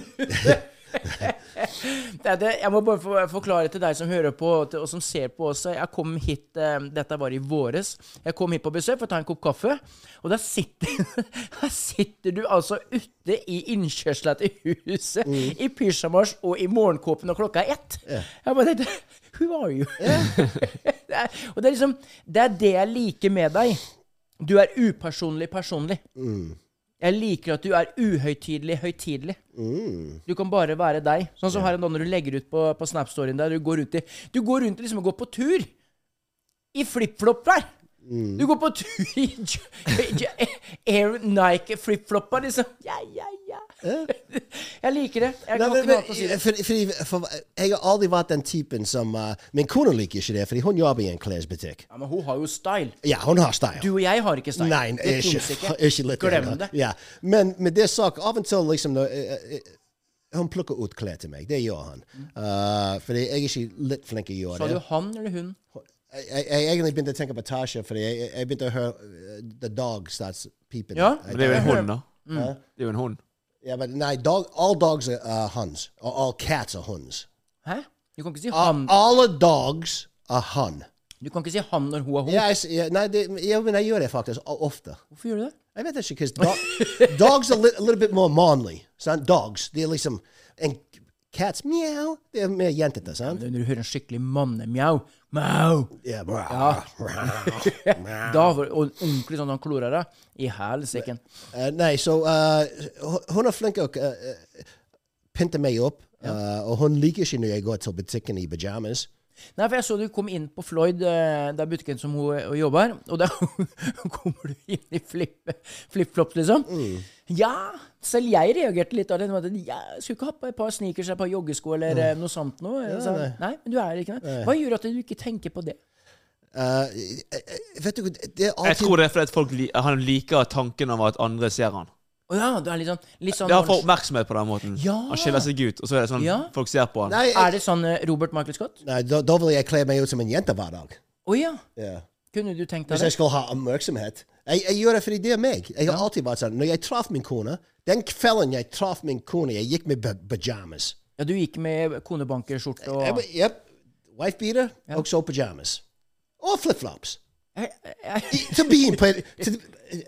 Speaker 4: Det er det, jeg må bare for- forklare til deg som hører på og til- og som ser på også. Jeg kom hit eh, Dette var i våres. Jeg kom hit på besøk for å ta en kopp kaffe. Og der sitter, der sitter du altså ute i innkjørselen til huset i pysjamas og i morgenkåpen, og klokka er ett. Jeg bare tenkte Who are you? det er, og det er liksom Det er det jeg liker med deg. Du er upersonlig personlig. Jeg liker at du er uhøytidelig høytidelig. Du kan bare være deg. Sånn som her en dag når du legger ut på, på Snap-storyen der. Du går rundt i Du går rundt liksom og går på tur i flipflop der.
Speaker 2: Mm.
Speaker 4: Du går på tur i j- j- Air Nike flipflopper, liksom. Ja, ja, ja. Jeg liker det.
Speaker 2: Nei,
Speaker 4: Jeg kan
Speaker 2: men,
Speaker 4: ikke noe annet å si.
Speaker 2: men, fordi, fordi, for, jeg har aldri vært den typen som eh, Min kone liker ikke det, fordi hun jobber i en klesbutikk.
Speaker 4: Ja, men hun har jo style.
Speaker 2: Ja, hun har style.
Speaker 4: Du og jeg har ikke style.
Speaker 2: Nei,
Speaker 4: det
Speaker 2: ikke,
Speaker 4: finnes ikke.
Speaker 2: ikke litt
Speaker 4: Glem
Speaker 2: heller.
Speaker 4: det.
Speaker 2: Ja. Men med det sagt, av og til liksom når, eh, eh, Hun plukker ut klær til meg. Det gjør han. Uh, fordi jeg er ikke litt flink til å gjøre
Speaker 4: Mm. Sa
Speaker 2: det.
Speaker 4: du han eller hun?
Speaker 2: Jeg, jeg, jeg egentlig begynte å tenke på Tasha, fordi jeg, jeg- jeg begynte å høre eh, The Dog Starts Peeping.
Speaker 4: Ja,
Speaker 2: Jeg-
Speaker 3: Men det er jo en
Speaker 4: Jeg
Speaker 3: hund, da. Det er jo en hund.
Speaker 2: ja, men nei, dog, all dogs are uh, huns. Or all cats are huns.
Speaker 4: Hæ? Du kan ikke si han.
Speaker 2: All, all dogs are hun.
Speaker 4: Du kan ikke si han når hun er hun.
Speaker 2: Ja, jeg, s- ja, nei, det, ja, men jeg gjør det faktisk o- ofte.
Speaker 4: Hvorfor gjør du det?
Speaker 2: Jeg vet ikke, because dogs are li a little bit more manly. Sant? Dogs, det er liksom En cats meow, det er mer jentete, sant?
Speaker 4: Når du hører en skikkelig mannemjau Mau!
Speaker 2: Ja,
Speaker 4: Ja. Da var og en ordentlig sånn han klorer deg. I helsike.
Speaker 2: Eh, nei, så eh, hun- hun er flink til å eh, eh, pynte meg opp, eh, og hun liker ikke når jeg går til butikken i pyjamas.
Speaker 4: Nei, for jeg så du kom inn på Floyd, eh, det er butikken som hun eh, jobber, og da kommer du inn i flip- flip-flops, liksom.
Speaker 2: Mm.
Speaker 4: Ja, selv jeg reagerte litt av det. men Jeg skulle ikke ha på et par sneakers eller et par joggesko eller eh, noe sånt noe. Så,
Speaker 2: nei.
Speaker 4: nei, men du er ikke det. Hva gjør at du ikke tenker på det?
Speaker 2: Eh, eh, eh, vet du, det er
Speaker 3: Jeg
Speaker 2: alltid
Speaker 3: tror det er fordi at folk li han liker tanken av at andre ser han.
Speaker 4: Å ja, du er litt sånn, litt sånn
Speaker 3: Det har for
Speaker 4: orange.
Speaker 3: oppmerksomhet på den måten.
Speaker 4: Ja.
Speaker 3: Han skiller seg ut, og så er det sånn
Speaker 4: Ja.
Speaker 3: folk ser på han.
Speaker 2: Nei, jeg-
Speaker 4: Er det sånn eh, Robert Michael Scott?
Speaker 2: nei da, da vil jeg kle meg ut som en jente hver dag.
Speaker 4: Å ja.
Speaker 2: Ja.
Speaker 4: Kunne du tenkt
Speaker 2: Hvis
Speaker 4: deg
Speaker 2: jeg
Speaker 4: det?
Speaker 2: skal ha oppmerksomhet. Jeg, jeg gjør det fordi det er meg. Jeg har alltid vært sånn. Når jeg traff min kone Den kvelden jeg traff min kone, jeg gikk med pyjamas.
Speaker 4: Ja, du gikk med konebankerskjorte og
Speaker 2: Yep. Wife beater, og så pyjamas. Og flipflops. Til byen på, en- til-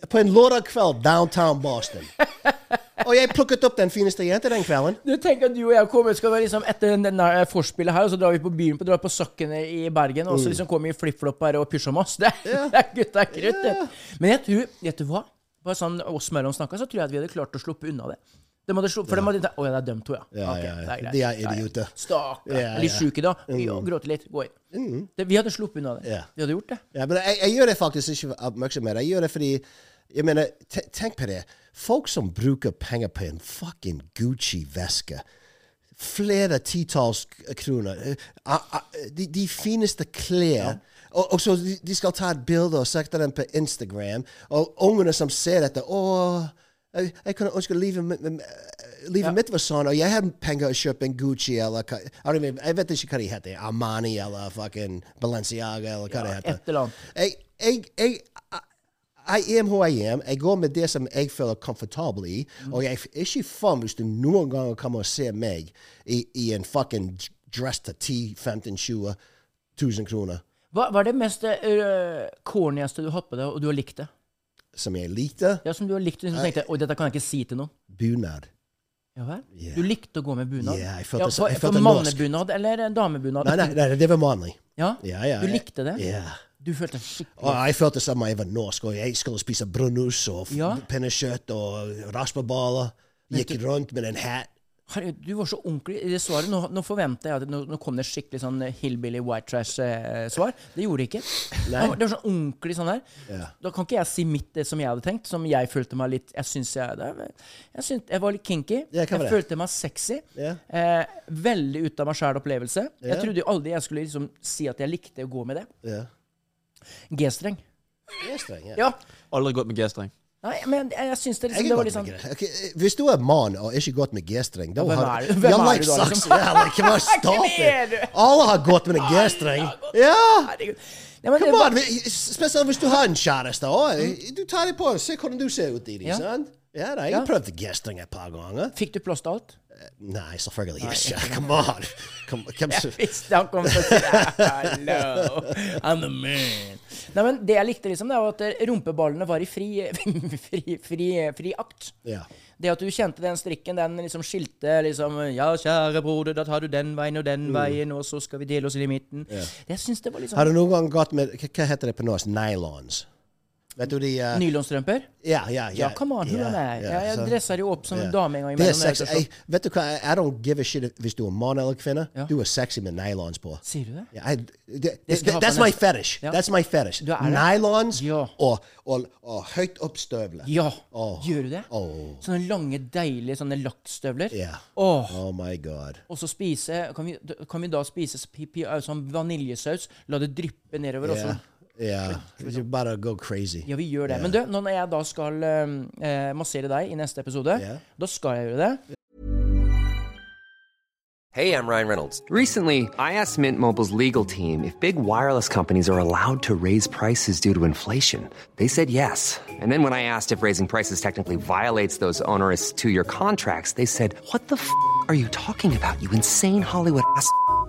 Speaker 2: på en lørdag kveld downtown Boston. Oh, Og jeg plukket opp den fineste jenta den kvelden.
Speaker 4: Du tenker at du og jeg kommer skal være liksom etter den der eh, forspillet her, og så drar vi på byen på, drar på Søkkene i Bergen,
Speaker 2: Mm.
Speaker 4: og så liksom kommer vi i flipflopper og pysjamas. Det, er det er gutta er krutt. det. Men jeg tror Vet du hva? Bare sånn oss mellom snakka, så tror jeg at vi hadde klart å slippe unna det. De hadde slupp, for de hadde tenkt Å ja, det er dømt to, ja.
Speaker 2: Ja,
Speaker 4: Ok,
Speaker 2: ja, ja.
Speaker 4: det greit.
Speaker 2: De er
Speaker 4: Ja, ja.
Speaker 2: idioter.
Speaker 4: Stakkar.
Speaker 2: Ja, ja. Mm.
Speaker 4: Litt sjuke, da. Ja, gråte litt. Gå inn. Det, vi hadde sluppet unna det.
Speaker 2: Ja.
Speaker 4: Vi hadde gjort det.
Speaker 2: Ja, men jeg, jeg gjør det faktisk ikke for oppmerksomhet. Jeg gjør det fordi jeg mener, te- Tenk på det. Folk som bruker penger på en fucking Gucci-veske. Flere titalls k- kroner. Eh, ah, ah, De, de fineste klær. Og, og så de, de skal ta et bilde og sette den på Instagram. Og ungene som ser dette Å, jeg, jeg kunne ønske livet, mitt- mitt- livet mitt var sånn, og jeg hadde penger å kjøpe en Gucci eller hva- jeg vet ikke- Jeg vet ikke hva de heter. Armani eller fucking Balenciaga eller hva det heter.
Speaker 4: Et eller annet.
Speaker 2: Jeg, jeg, jeg, I am who I am. Jeg går med det som jeg føler komfortabel i. Og jeg er ikke faen hvis du noen gang kommer og ser meg i, i en fucking dress til 10 15 20 000 kroner
Speaker 4: Hva, hva er det mest uh, cornieste du har hatt på deg, og du har likt det?
Speaker 2: som jeg likte.
Speaker 4: Ja, som du har likt, og liksom, tenkte, Oi, dette kan jeg ikke si til noen.
Speaker 2: Bunad.
Speaker 4: Ja vel?
Speaker 2: Ja.
Speaker 4: Du likte å gå med bunad?
Speaker 2: Ja, jeg følte så-
Speaker 4: for,
Speaker 2: jeg følte
Speaker 4: for
Speaker 2: norsk.
Speaker 4: mannebunad eller damebunad?
Speaker 2: Nei, nei, nei, det var vanlig.
Speaker 4: Ja?
Speaker 2: Ja, ja,
Speaker 4: du
Speaker 2: ja.
Speaker 4: likte det?
Speaker 2: Ja.
Speaker 4: Du følte skikkelig
Speaker 2: Og jeg følte som jeg var norsk, og jeg skulle spise brunost og
Speaker 4: Ja.
Speaker 2: pinnekjøtt og raspeballer. Gikk rundt med en hat.
Speaker 4: Herregud, Du var så ordentlig i det svaret. Nå, nå forventa jeg at nå, nå kom det skikkelig sånn hillbilly white trash-svar. det gjorde det ikke. Det var, det var sånn ordentlig sånn der.
Speaker 2: Ja.
Speaker 4: Da kan ikke jeg si mitt det som jeg hadde tenkt, som jeg følte meg litt Jeg syns jeg, det, er- jeg, syns- jeg var litt kinky.
Speaker 2: Ja, hva var
Speaker 4: jeg
Speaker 2: det?
Speaker 4: følte meg sexy.
Speaker 2: Ja.
Speaker 4: Eh, veldig ut av meg sjæl-opplevelse. Jeg trodde jo aldri jeg skulle liksom si at jeg likte å gå med det.
Speaker 2: Ja.
Speaker 4: G-streng.
Speaker 2: Det er streng, ja.
Speaker 4: Ja.
Speaker 3: Aldri gått med G-streng.
Speaker 4: Nei, men jeg, jeg syns det,
Speaker 2: Jeg er
Speaker 4: liksom, det var
Speaker 2: godt
Speaker 4: litt sånn
Speaker 2: med gress. Ok, Hvis du er mann og ikke gått med G-streng da
Speaker 4: hvem
Speaker 2: har-
Speaker 4: er du- hvem
Speaker 2: Ja,
Speaker 4: er
Speaker 2: like
Speaker 4: du da, liksom?
Speaker 2: socks. Ja, like, come on, stop
Speaker 4: er du?
Speaker 2: it. Alle har gått med en G-streng. Ja!
Speaker 4: Herregud. Nei, men det
Speaker 2: Come
Speaker 4: var- Mm.
Speaker 2: on, vi- Spesielt hvis du har en kjæreste. også. Du tar det på og se hvordan du ser ut i det.
Speaker 4: Ja.
Speaker 2: sant? Ja, da, jeg har prøvd gjesting et par ganger.
Speaker 4: Fikk du plast alt?
Speaker 2: Nei, selvfølgelig ikke. Come on. Kom, hvem som-
Speaker 4: Hvis han kom til å si Hello, I'm the man. Nei, men det jeg likte, liksom, det var at rumpeballene var i fri, fri, fri, fri akt.
Speaker 2: ja.
Speaker 4: Det at du kjente den strikken, den liksom skilte liksom Ja, kjære broder, da tar du den veien og den veien, og så skal vi dele oss inn i midten. Det syns jeg var litt
Speaker 2: Mm. Har
Speaker 4: sånn
Speaker 2: du noen gang gått med Hva hva heter det på norsk? Nylons? Vet du de eh,
Speaker 4: sånn Nylonstrømper?
Speaker 2: Ja, ja, ja.
Speaker 4: Ja, come on, hvordan er jeg? Jeg,
Speaker 2: så-
Speaker 4: jeg dresser jo opp som en
Speaker 2: ja.
Speaker 4: dame en gang
Speaker 2: Det er
Speaker 4: imellom. når jeg
Speaker 2: sexy.
Speaker 4: skal
Speaker 2: Jeg, vet du hva, I don't give a shit hvis du er mann eller kvinne.
Speaker 4: Ja.
Speaker 2: Du er sexy med nylons på.
Speaker 4: slå- Sier du det?
Speaker 2: Ja, I, det,
Speaker 4: Det skal
Speaker 2: det,
Speaker 4: jeg ha på
Speaker 2: that's my
Speaker 4: neste-
Speaker 2: fetish.
Speaker 4: Ja.
Speaker 2: That's my fetish.
Speaker 4: Du er det.
Speaker 2: Nylons
Speaker 4: Ja.
Speaker 2: og, og, og høyt opp støvler.
Speaker 4: Ja.
Speaker 2: Åh.
Speaker 4: Gjør du det?
Speaker 2: Åh.
Speaker 4: Sånne lange, deilige sånne lakkstøvler.
Speaker 2: Ja.
Speaker 4: Åh.
Speaker 2: Oh my god.
Speaker 4: Og så spise Kan vi, kan vi da spise s- pi- pi- sånn vaniljesaus? La det dryppe nedover og
Speaker 2: Yeah.
Speaker 4: så-
Speaker 2: Yeah. You're about to go crazy.
Speaker 4: Ja, vi gjør det. Men du, nå når jeg da skal øhm, eh, massere deg i neste episode,
Speaker 2: Ja.
Speaker 4: da skal jeg gjøre det.
Speaker 5: Hey, I'm Ryan Reynolds. Recently, I asked Mint Mobile's legal team if big wireless companies are allowed to raise prices due to inflation. They said yes. And then when I asked if raising prices technically violates those onerous two year contracts, they said, What the f are you talking about, you insane Hollywood ass? f-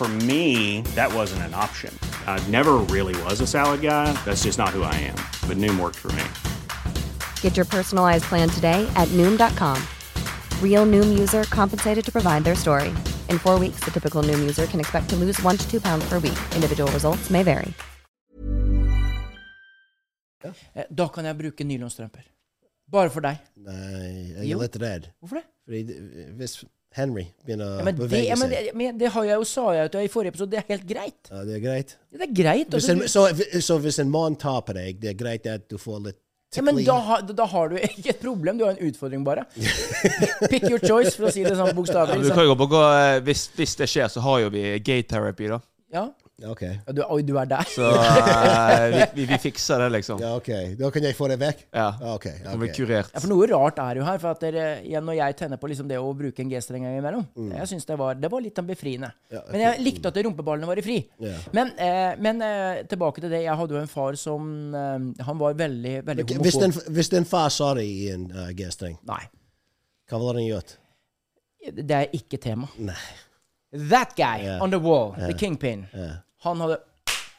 Speaker 6: For me, that wasn't an option. I never really was a salad guy. That's just not who I am. But Noom worked for me.
Speaker 7: Get your personalized plan today at Noom.com. Real Noom user compensated to provide their story. In four weeks, the typical Noom user can expect to lose one to two pounds per week. Individual results may vary.
Speaker 4: Eh, Da kan jeg bruke nylonstrømper. Bare for deg.
Speaker 2: Nei, jeg
Speaker 4: Jo.
Speaker 2: er litt redd.
Speaker 4: Hvorfor det?
Speaker 2: Fordi det- hvis Henry begynner
Speaker 4: Ja,
Speaker 2: å
Speaker 4: men det, ja,
Speaker 2: bevege seg,
Speaker 4: men, det, men det har jeg jo sa jeg jo i forrige episode, det er helt greit.
Speaker 2: ja, det er greit.
Speaker 4: Det er greit.
Speaker 2: Hvis
Speaker 4: altså,
Speaker 2: en,
Speaker 4: du-
Speaker 2: så, så hvis en mann tar på deg, det er greit at du får litt
Speaker 4: Ja, men
Speaker 2: tickling?
Speaker 4: da, har- da har du ikke et problem, du har en utfordring bare. Pick your choice, for å si det sånn
Speaker 3: Ja, men du
Speaker 4: bokstavelig.
Speaker 3: kan
Speaker 4: så-
Speaker 3: jo gå på gå, eh, hvis, hvis det skjer, så har jo vi gay therapy, da.
Speaker 4: Ja.
Speaker 2: Ok.
Speaker 4: Ja, du, oi, du er der.
Speaker 3: Så eh, vi, vi, vi fikser det, liksom.
Speaker 2: Ja, ok. Da kan jeg få det vekk?
Speaker 3: Ja.
Speaker 2: Ok.
Speaker 3: Kan bli
Speaker 2: ok.
Speaker 3: kurert.
Speaker 4: Ja, for noe rart er jo her, for at dere, igjen, når jeg tenner på liksom det å bruke en G-streng imellom,
Speaker 2: Mm.
Speaker 4: jeg synes det var, det var litt sånn befriende. Men jeg likte at rumpeballene var i fri.
Speaker 2: Ja.
Speaker 4: Men, eh, men eh, tilbake til det, jeg hadde jo en far som, eh, han var veldig, veldig
Speaker 2: Ok,
Speaker 4: homofob.
Speaker 2: Hvis din, hvis din far sa det i en uh, G-streng,
Speaker 4: Nei,
Speaker 2: hva ville den gjort?
Speaker 4: det er ikke tema.
Speaker 2: Nei.
Speaker 4: That guy
Speaker 2: Ja.
Speaker 4: on the wall, the kingpin, han hadde...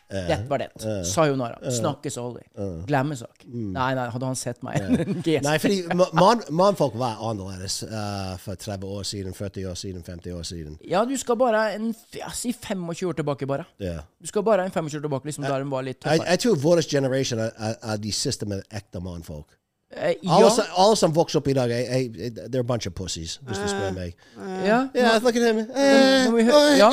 Speaker 4: Det var det. Sayonara. Snakkes aldri. Glemmesak. Nei, nei, hadde han sett meg G-streng.
Speaker 2: Mm. Nei, fordi ma- mann- mannfolk var annerledes uh, for 30 år siden, 40 år siden, 50 år siden.
Speaker 4: Ja, du skal bare en, ja, si 25 år tilbake bare.
Speaker 2: Ja.
Speaker 4: Du skal bare en 25 år tilbake, liksom, der hun var litt
Speaker 2: Jeg,
Speaker 4: tøffere.
Speaker 2: jeg tror vår generasjon er, er, er de siste med ekte mannfolk.
Speaker 4: Eh,
Speaker 2: Alle,
Speaker 4: ja,
Speaker 2: som, alle som vokser opp i dag, er, er, er, they're a bunch of pussies, hvis du spør meg.
Speaker 4: ja.
Speaker 2: Yeah, look at him. eh,
Speaker 4: Nå må vi hø- ja.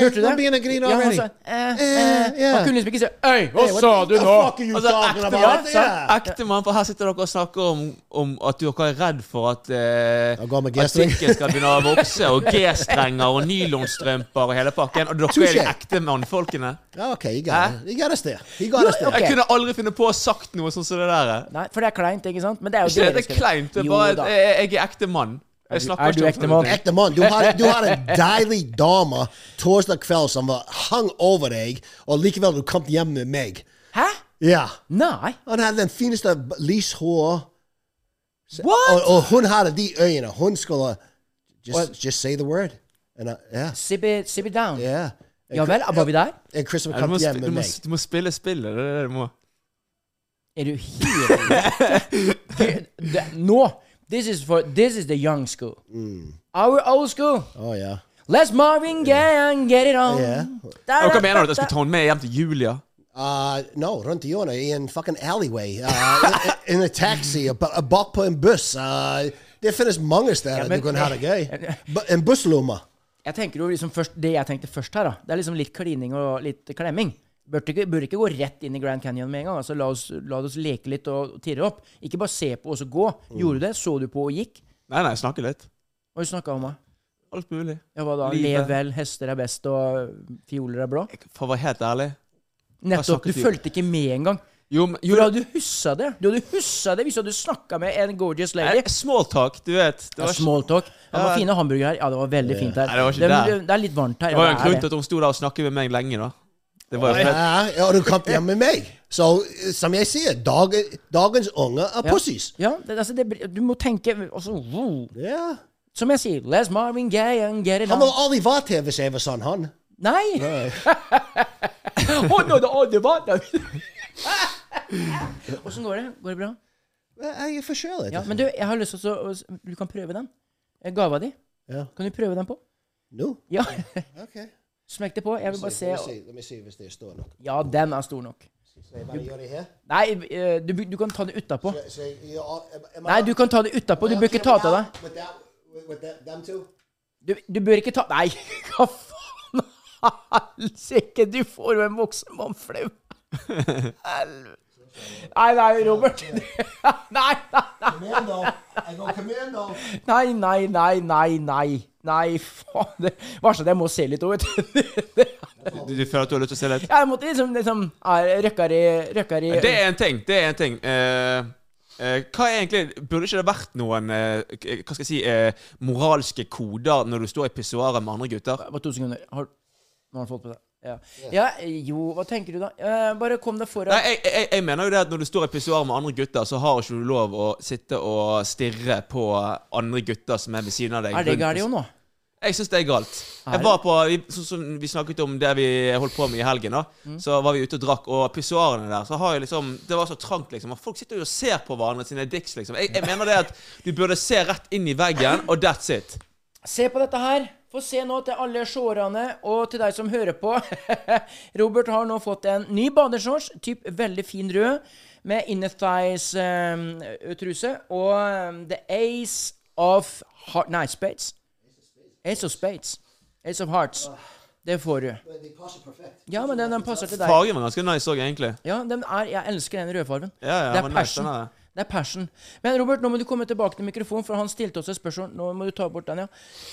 Speaker 4: Hørte du
Speaker 2: I'm
Speaker 4: det?
Speaker 2: eh, begynner å grine
Speaker 4: Ja, han
Speaker 2: already.
Speaker 4: sa, eh,
Speaker 2: Eh,
Speaker 4: eh.
Speaker 2: ja.
Speaker 4: Han kunne liksom ikke si Øy, hva
Speaker 2: Hey, what
Speaker 4: sa du
Speaker 2: the
Speaker 4: nå?
Speaker 2: fuck are you
Speaker 3: Altså,
Speaker 2: talking
Speaker 3: ekte
Speaker 2: about?
Speaker 3: mann,
Speaker 2: Yeah.
Speaker 3: sant? Ekte mann, for her sitter dere og snakker om, om at dere er redd for at eh,
Speaker 2: Jeg går med
Speaker 3: At
Speaker 2: G-streng.
Speaker 3: pikken skal begynne å vokse, og G-strenger og nylonstrømper og hele pakken. Og dere er de
Speaker 2: Touché.
Speaker 3: ekte mannfolkene.
Speaker 2: Okay, you
Speaker 3: Hæ?
Speaker 2: got it. You got us there. You got us there.
Speaker 3: Jeg kunne aldri finne på å sagt noe sånn som det der.
Speaker 4: Nei, for det er kleint, ikke sant? Men det er jo
Speaker 3: Ikke det,
Speaker 4: dere
Speaker 3: det
Speaker 4: skal-
Speaker 3: er kleint. Det er
Speaker 4: Jo
Speaker 3: bare at
Speaker 4: da.
Speaker 3: jeg, jeg er ekte mann. Jeg snakker
Speaker 4: er du
Speaker 3: ikke om
Speaker 4: ekte
Speaker 3: sånne
Speaker 4: mann?
Speaker 3: ting.
Speaker 2: Ekte mann. Du har, du har en deilig dame torsdag kveld som var hang over deg, og likevel du kom hjem med meg.
Speaker 4: Hæ?
Speaker 2: Ja.
Speaker 4: Nei.
Speaker 2: Han hadde den fineste b- lys hår, og,
Speaker 4: What?
Speaker 2: og hun hadde de øyene. Hun skulle
Speaker 4: What?
Speaker 2: just, just say the word. And I, yeah,
Speaker 4: Sibby, sibby down.
Speaker 2: yeah. And
Speaker 4: Ja vel,
Speaker 2: Chris-
Speaker 4: var vi der?
Speaker 2: And Chris would
Speaker 3: Ja, du,
Speaker 2: come
Speaker 3: må,
Speaker 2: hjem
Speaker 3: sp- du,
Speaker 2: med
Speaker 3: må,
Speaker 2: meg.
Speaker 3: du må spille spillet. Det er det du må.
Speaker 4: Er du helt Det- det- Nå! This is for This is the young school.
Speaker 2: Mm.
Speaker 4: Our old school.
Speaker 2: Å ja.
Speaker 4: Let's Marvin Gaye and get it on.
Speaker 2: Oh, Yeah.
Speaker 4: Da,
Speaker 3: Og
Speaker 4: da,
Speaker 3: Hva mener du?
Speaker 4: da,
Speaker 3: At jeg skulle ta henne med hjem til Julia?
Speaker 2: Uh, no, rundt i hjørnet i en fucking alleyway. Uh, in, in a taxi, ba- bak på en buss. Uh, det finnes mange steder
Speaker 4: men-
Speaker 2: du kan ha det gøy. Bu- En busslomme.
Speaker 4: Jeg tenker jo liksom først, Det jeg tenkte først her, da, det er liksom litt klining og litt klemming. Burde ikke, burde ikke gå rett inn i Grand Canyon med en gang. altså La oss, la oss leke litt og tirre opp. Ikke bare se på og så gå. Gjorde du det? Så du på og gikk?
Speaker 3: Nei, nei, snakke litt.
Speaker 4: Og du snakka om meg.
Speaker 3: Alt mulig.
Speaker 4: Ja, hva da?
Speaker 3: Livet.
Speaker 4: Lev vel, hester er best, og fioler er blå?
Speaker 3: For å være helt ærlig
Speaker 4: Nettopp.
Speaker 3: snakket
Speaker 4: Du
Speaker 3: vi-
Speaker 4: fulgte ikke med engang.
Speaker 3: Jo, men- jo
Speaker 4: For du hadde huska det. Du hadde huska det hvis du hadde snakka med en gorgeous lady.
Speaker 3: eh, Small talk, du vet. Det
Speaker 4: Ja,
Speaker 3: var, ikke-
Speaker 4: small talk. Ja, det
Speaker 3: Ja.
Speaker 4: var fine hamburgere her. Ja, det var veldig fint her.
Speaker 3: Nei, det var ikke der.
Speaker 4: det er litt varmt her.
Speaker 3: det
Speaker 4: Ja,
Speaker 3: var jo en grunn
Speaker 4: er
Speaker 3: til at hun sto der og snakket med meg lenge, da. Det var jo fett.
Speaker 2: Ja, og du kom hjem med meg. Så eh, som jeg sier, dag, dagens unger er pussies.
Speaker 4: Ja, det, altså, det, blir- du må tenke altså, wow.
Speaker 2: Ja.
Speaker 4: Som jeg sier, les Marvin Gaye and get it
Speaker 2: Han
Speaker 4: on.
Speaker 2: hadde aldri vært her hvis jeg var sånn, han.
Speaker 4: Nei! Å, nå er det aldri varmt her. Åssen går det? Går det bra?
Speaker 2: Jeg er forskjellig.
Speaker 4: Ja, men du, jeg har lyst til å å- Du kan prøve den. Eh, Gava di.
Speaker 2: Ja.
Speaker 4: Kan du prøve den på?
Speaker 2: Nå?
Speaker 4: Ja.
Speaker 2: Ok.
Speaker 4: Smekk det på. Jeg vil bare se.
Speaker 2: La meg se- la meg se hvis det står nok.
Speaker 4: Ja, den er stor nok.
Speaker 2: Så jeg bare gjør det her.
Speaker 4: Nei, eh, du, du kan ta det utapå.
Speaker 2: Så jeg gjør- am I-
Speaker 4: Nei, du kan ta det utapå. Du bør ikke ta det av deg.
Speaker 2: With that, with that, them two?
Speaker 4: Du, du bør ikke ta Nei, hva faen? Helsike, du får jo en voksen mann flau. Helvete. Nei, nei, Robert. Nei, nei,
Speaker 2: Commando. I go commando.
Speaker 4: nei, nei, nei, nei. nei. Nei, faen. det- Varsel at jeg må se litt òg, vet du.
Speaker 3: Du, du føler at du har lyst til å se litt?
Speaker 4: Jeg måtte liksom, liksom ja, Røkker i Røkker i
Speaker 3: Det er en ting. Det er en ting. Eh, eh, hva er egentlig Burde ikke det vært noen eh, k- Hva skal jeg si eh, moralske koder når du står i pissoaret med andre gutter?
Speaker 4: Bare to sekunder. Har, nå har han fått på seg. Ja. ja, jo, hva tenker du da? Eh, bare kom deg foran.
Speaker 3: Nei, jeg, jeg, jeg mener jo det at Når du står i pissoar med andre gutter, så har ikke du lov å sitte og stirre på andre gutter som er ved siden av deg.
Speaker 4: er det
Speaker 3: rundt
Speaker 4: gærent jo nå?
Speaker 3: Jeg syns det er galt.
Speaker 4: det?
Speaker 3: Jeg var på, vi, sånn som vi snakket om det vi holdt på med i helgen, da.
Speaker 4: Mm.
Speaker 3: Så var vi ute og drakk, og pissoarene der så har jeg liksom, Det var så trangt, liksom. Og folk sitter jo og ser på hverandre sine dicks, liksom. Jeg, jeg mener det at du burde se rett inn i veggen, og that's it.
Speaker 4: Se på dette her. Få se nå til alle seerne og til deg som hører på. Robert har nå fått en ny badeshorts, typ veldig fin rød, med inner thighs-truse. og eh, the ace of heart... Nei, spades. Ace of spades. Ace of hearts. Det får du.
Speaker 2: They pass it perfect.
Speaker 4: Ja, men den, den passer til deg.
Speaker 3: Fargen var ganske nice òg, egentlig.
Speaker 4: Ja, den er, jeg elsker den rødfargen.
Speaker 3: Ja, ja,
Speaker 4: det er
Speaker 3: men nice,
Speaker 4: passion.
Speaker 3: den er det.
Speaker 4: det er passion. Men Robert, nå må du komme tilbake til mikrofonen, for han stilte oss et spørsmål. Nå må du ta bort den, ja.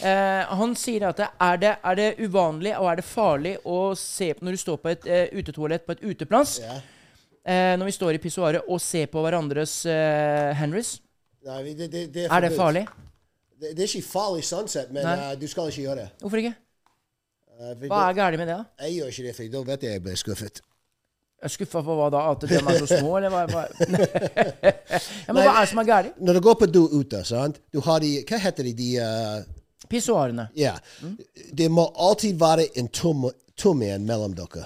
Speaker 4: Eh, han sier at det, er, det, er det uvanlig og er det farlig å se på når du står på et eh, utetoalett på et uteplass, eh, når vi står i pissoaret og ser på hverandres eh, Henrys?
Speaker 2: Nei, det, det, det er
Speaker 4: Er det
Speaker 2: forbudt.
Speaker 4: farlig?
Speaker 2: Det, det er ikke farlig sånn sett, men
Speaker 4: Nei.
Speaker 2: eh, du skal ikke gjøre det.
Speaker 4: Hvorfor ikke?
Speaker 2: Eh, for
Speaker 4: Hva
Speaker 2: da-
Speaker 4: er galt med det, da?
Speaker 2: Jeg gjør ikke det, for da vet jeg jeg blir skuffet.
Speaker 4: Jeg er skuffa for hva da? At de er så små, eller hva? hva? ja, men hva er det som er galt?
Speaker 2: Når du går på do ute, sant? du har de Hva heter de? de eh,
Speaker 4: Pissoarene.
Speaker 2: ja.
Speaker 4: Mm.
Speaker 2: Det må alltid være en tom, tom en mellom dere.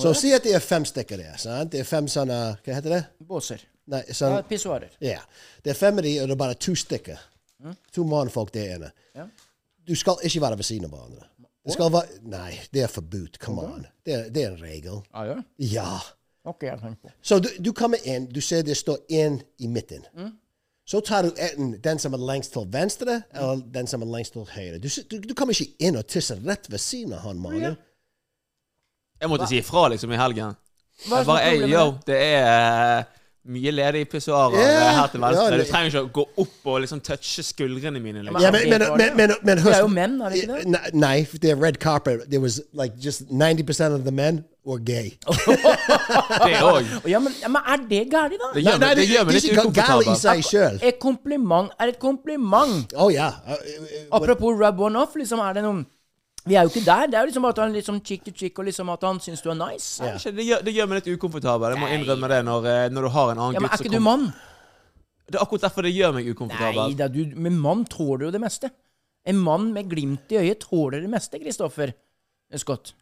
Speaker 2: Så si at det er fem stykker der. sant? Det er fem sånne Hva heter det?
Speaker 4: Båser.
Speaker 2: Nei,
Speaker 4: Ja,
Speaker 2: sånn,
Speaker 4: Pissoarer.
Speaker 2: ja. Det er fem av de, og det er bare to stykker.
Speaker 4: Hmm?
Speaker 2: To mannfolk der inne. Du skal ikke være ved siden av hverandre. Det skal være, nei, det er forbudt. Come on. Det er, det er en regel.
Speaker 4: Ja, ja.
Speaker 2: Ja.
Speaker 4: Ok, jeg tenker på.
Speaker 2: Så du, du kommer inn, du ser det står én i midten.
Speaker 4: Hmm?
Speaker 2: Så tar du enten den som er lengst til venstre,
Speaker 4: Hmm?
Speaker 2: eller den som er lengst til høyre. Du, s- du, du kommer ikke inn og tisser rett ved siden av han mannen.
Speaker 3: Jeg måtte si ifra, liksom, i helgen.
Speaker 4: Hva
Speaker 3: Jeg
Speaker 4: er det som
Speaker 3: bare,
Speaker 4: er
Speaker 3: ei,
Speaker 4: problemet
Speaker 3: yo,
Speaker 4: med det?
Speaker 3: det er eh, mye ledig i pissoarer
Speaker 2: Ja,
Speaker 3: her til venstre.
Speaker 2: ja, det-
Speaker 3: Du trenger ikke å gå opp og liksom touche skuldrene mine. Liksom.
Speaker 2: Ja, men, men, men, men, men
Speaker 4: Det er jo menn, er det ikke det?
Speaker 2: Ne- Nei, det er red carpet. There was like just 90 of the men were gay.
Speaker 3: Det òg.
Speaker 4: Å, Ja, men, ja, men er det gærent, da?
Speaker 3: Det gjør meg- det gjør meg
Speaker 2: de
Speaker 3: litt
Speaker 2: er ikke gale i
Speaker 3: ukomfortabel.
Speaker 2: seg sjøl.
Speaker 4: Et kompliment er et kompliment.
Speaker 2: Å ja. Uh, uh,
Speaker 4: Oh,
Speaker 2: uh,
Speaker 4: Apropos rub one off, liksom er det noen Vi er jo ikke der. Det er jo liksom bare at han liksom chick to chick, og liksom at han syns du er nice.
Speaker 3: Ikke, Det gjør, det gjør meg litt ukomfortabel. Jeg må innrømme det når, eh, når du har en annen
Speaker 4: Ja, men
Speaker 3: gutt
Speaker 4: er
Speaker 3: som
Speaker 4: ikke du
Speaker 3: kommer-
Speaker 4: mann?
Speaker 3: Det er akkurat derfor det gjør meg
Speaker 4: Nei
Speaker 3: ukomfortabel.
Speaker 4: da, du Men mann tåler jo det meste. En mann med glimt i øyet tåler det meste, Kristoffer Scott.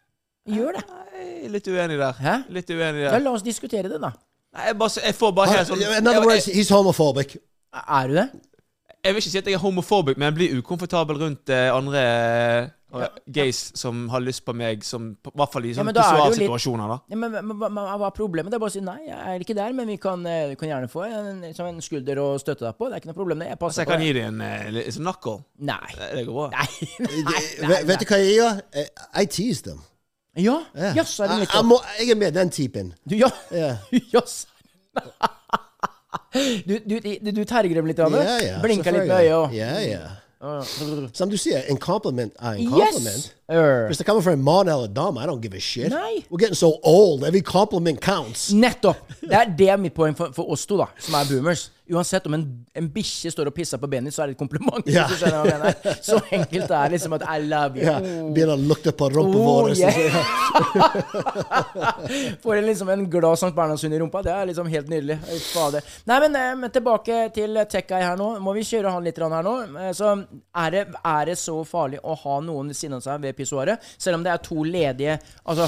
Speaker 4: Gjør det.
Speaker 3: Nei, litt uenig der.
Speaker 4: Hæ?
Speaker 3: Litt uenig
Speaker 4: Ja,
Speaker 3: der.
Speaker 4: la oss diskutere det, da.
Speaker 3: Nei, jeg, bare, jeg får bare helt sånn jeg,
Speaker 2: In other words,
Speaker 3: jeg,
Speaker 2: he's homophobic.
Speaker 4: Er du det?
Speaker 3: jeg vil ikke si at jeg er homofobik, men jeg blir ukomfortabel rundt eh, andre eh, gays som har lyst på meg, som på- i hvert fall i
Speaker 4: men
Speaker 3: sånne
Speaker 4: da er det jo litt-
Speaker 3: situasjoner, da.
Speaker 4: Ja, men, men, men, men hva er problemet? Det er bare å si nei, jeg er ikke der, men vi kan, eh, vi kan gjerne få en, liksom en skulder å støtte deg på. Det er ikke noe problem, det.
Speaker 3: Så
Speaker 4: Jeg passer
Speaker 3: jeg kan
Speaker 4: på
Speaker 3: gi
Speaker 4: det.
Speaker 3: deg en eh, li- sånn knuckle.
Speaker 4: Nei.
Speaker 3: Eh, Det går bra.
Speaker 4: Nei,
Speaker 2: Uh,
Speaker 4: nei, nei,
Speaker 2: Vet vet du hva jeg gjør? Eh, I tease them.
Speaker 4: Ja,
Speaker 2: Ja.
Speaker 4: jaså er det
Speaker 2: Jeg-
Speaker 4: litt
Speaker 2: jeg
Speaker 4: sånn.
Speaker 2: må- Jeg er med den typen.
Speaker 4: Du, ja.
Speaker 2: Ja.
Speaker 4: Jaså. Du, du, du, du terger dem litt, Anne.
Speaker 2: Ja, ja,
Speaker 4: Blinker litt med
Speaker 2: selvfølgelig.
Speaker 4: øyet og
Speaker 2: Ja, ja.
Speaker 4: Uh,
Speaker 2: Som du sier, en compliment er en compliment.
Speaker 4: Yes! Er.
Speaker 2: Hvis det kommer fra en mann eller en dame, I don't give a shit.
Speaker 4: Nei.
Speaker 2: We're getting so old. Every compliment counts.
Speaker 4: Nettopp! Det er det er mitt poeng for, for oss to, da, som er boomers. Uansett om en, en bikkje står og pisser på benet ditt, så er det et kompliment. hvis
Speaker 2: Ja.
Speaker 4: du skjønner hva jeg mener. Så enkelt det er liksom at I love you.
Speaker 2: Ja, Begynner å lukte på rumpa
Speaker 4: Oh,
Speaker 2: vår.
Speaker 4: yeah.
Speaker 2: så-
Speaker 4: Får en liksom en glad Sankt Bernhardshund i rumpa. Det er liksom helt nydelig. Fy Fader. Nei, men, eh, men tilbake til tech-guy her nå. Må vi kjøre han litt grann her nå? Eh, Så er det, er det så farlig å ha noen ved siden av seg ved pissoaret? Selv om det er to ledige Altså,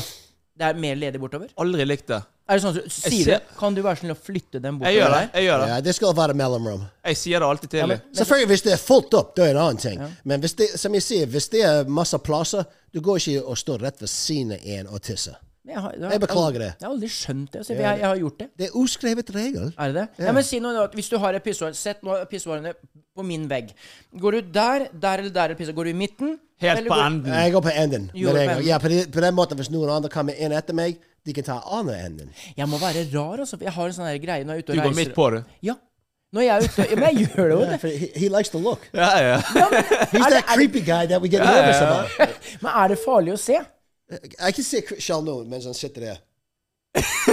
Speaker 4: det er mer ledig bortover?
Speaker 3: Aldri likt det.
Speaker 4: Er det sånn at du sier
Speaker 3: ser-
Speaker 4: det? Kan du være snill å flytte den
Speaker 3: Jeg gjør
Speaker 4: bortover
Speaker 3: det.
Speaker 4: der?
Speaker 3: Jeg gjør det.
Speaker 2: Ja, det skal være mellomrom.
Speaker 3: Jeg sier det alltid
Speaker 4: Ja,
Speaker 3: til
Speaker 4: men-
Speaker 3: dem.
Speaker 2: Selvfølgelig hvis det er fullt opp, det er en annen ting. Men hvis det, som jeg sier, hvis det er masse plasser, du går ikke og står rett ved siden av en og tisser.
Speaker 4: Men Jeg, har,
Speaker 2: Jeg beklager det.
Speaker 4: Jeg har aldri skjønt det. altså. Jeg, jeg har gjort det.
Speaker 2: Det er uskrevet regel.
Speaker 4: Er det det? Ja, men si noe da, at Hvis du har et pissoar Sett nå pissoarene på min vegg. Går du der, der eller der? eller pisser? Går du i midten?
Speaker 3: Helt
Speaker 4: Eller
Speaker 3: på
Speaker 4: går-
Speaker 3: enden.
Speaker 2: Jeg går på enden.
Speaker 4: Jo,
Speaker 2: med regel.
Speaker 4: men-
Speaker 2: Ja, på, de, på den måten, hvis noen andre kommer inn etter meg, de kan ta andre enden.
Speaker 4: Jeg må være rar, altså. for Jeg har en sånn her greie når jeg er
Speaker 3: Du
Speaker 4: ute og
Speaker 3: går
Speaker 4: reiser.
Speaker 3: midt på det.
Speaker 4: Ja. Når jeg er ute ja, Men jeg gjør det jo
Speaker 2: Yeah,
Speaker 4: det.
Speaker 2: for he, he likes to look.
Speaker 3: Ja, ja.
Speaker 2: He's that creepy guy that we get nervous about.
Speaker 4: Men er det farlig å se?
Speaker 2: I can see Shell noen mens han sitter der.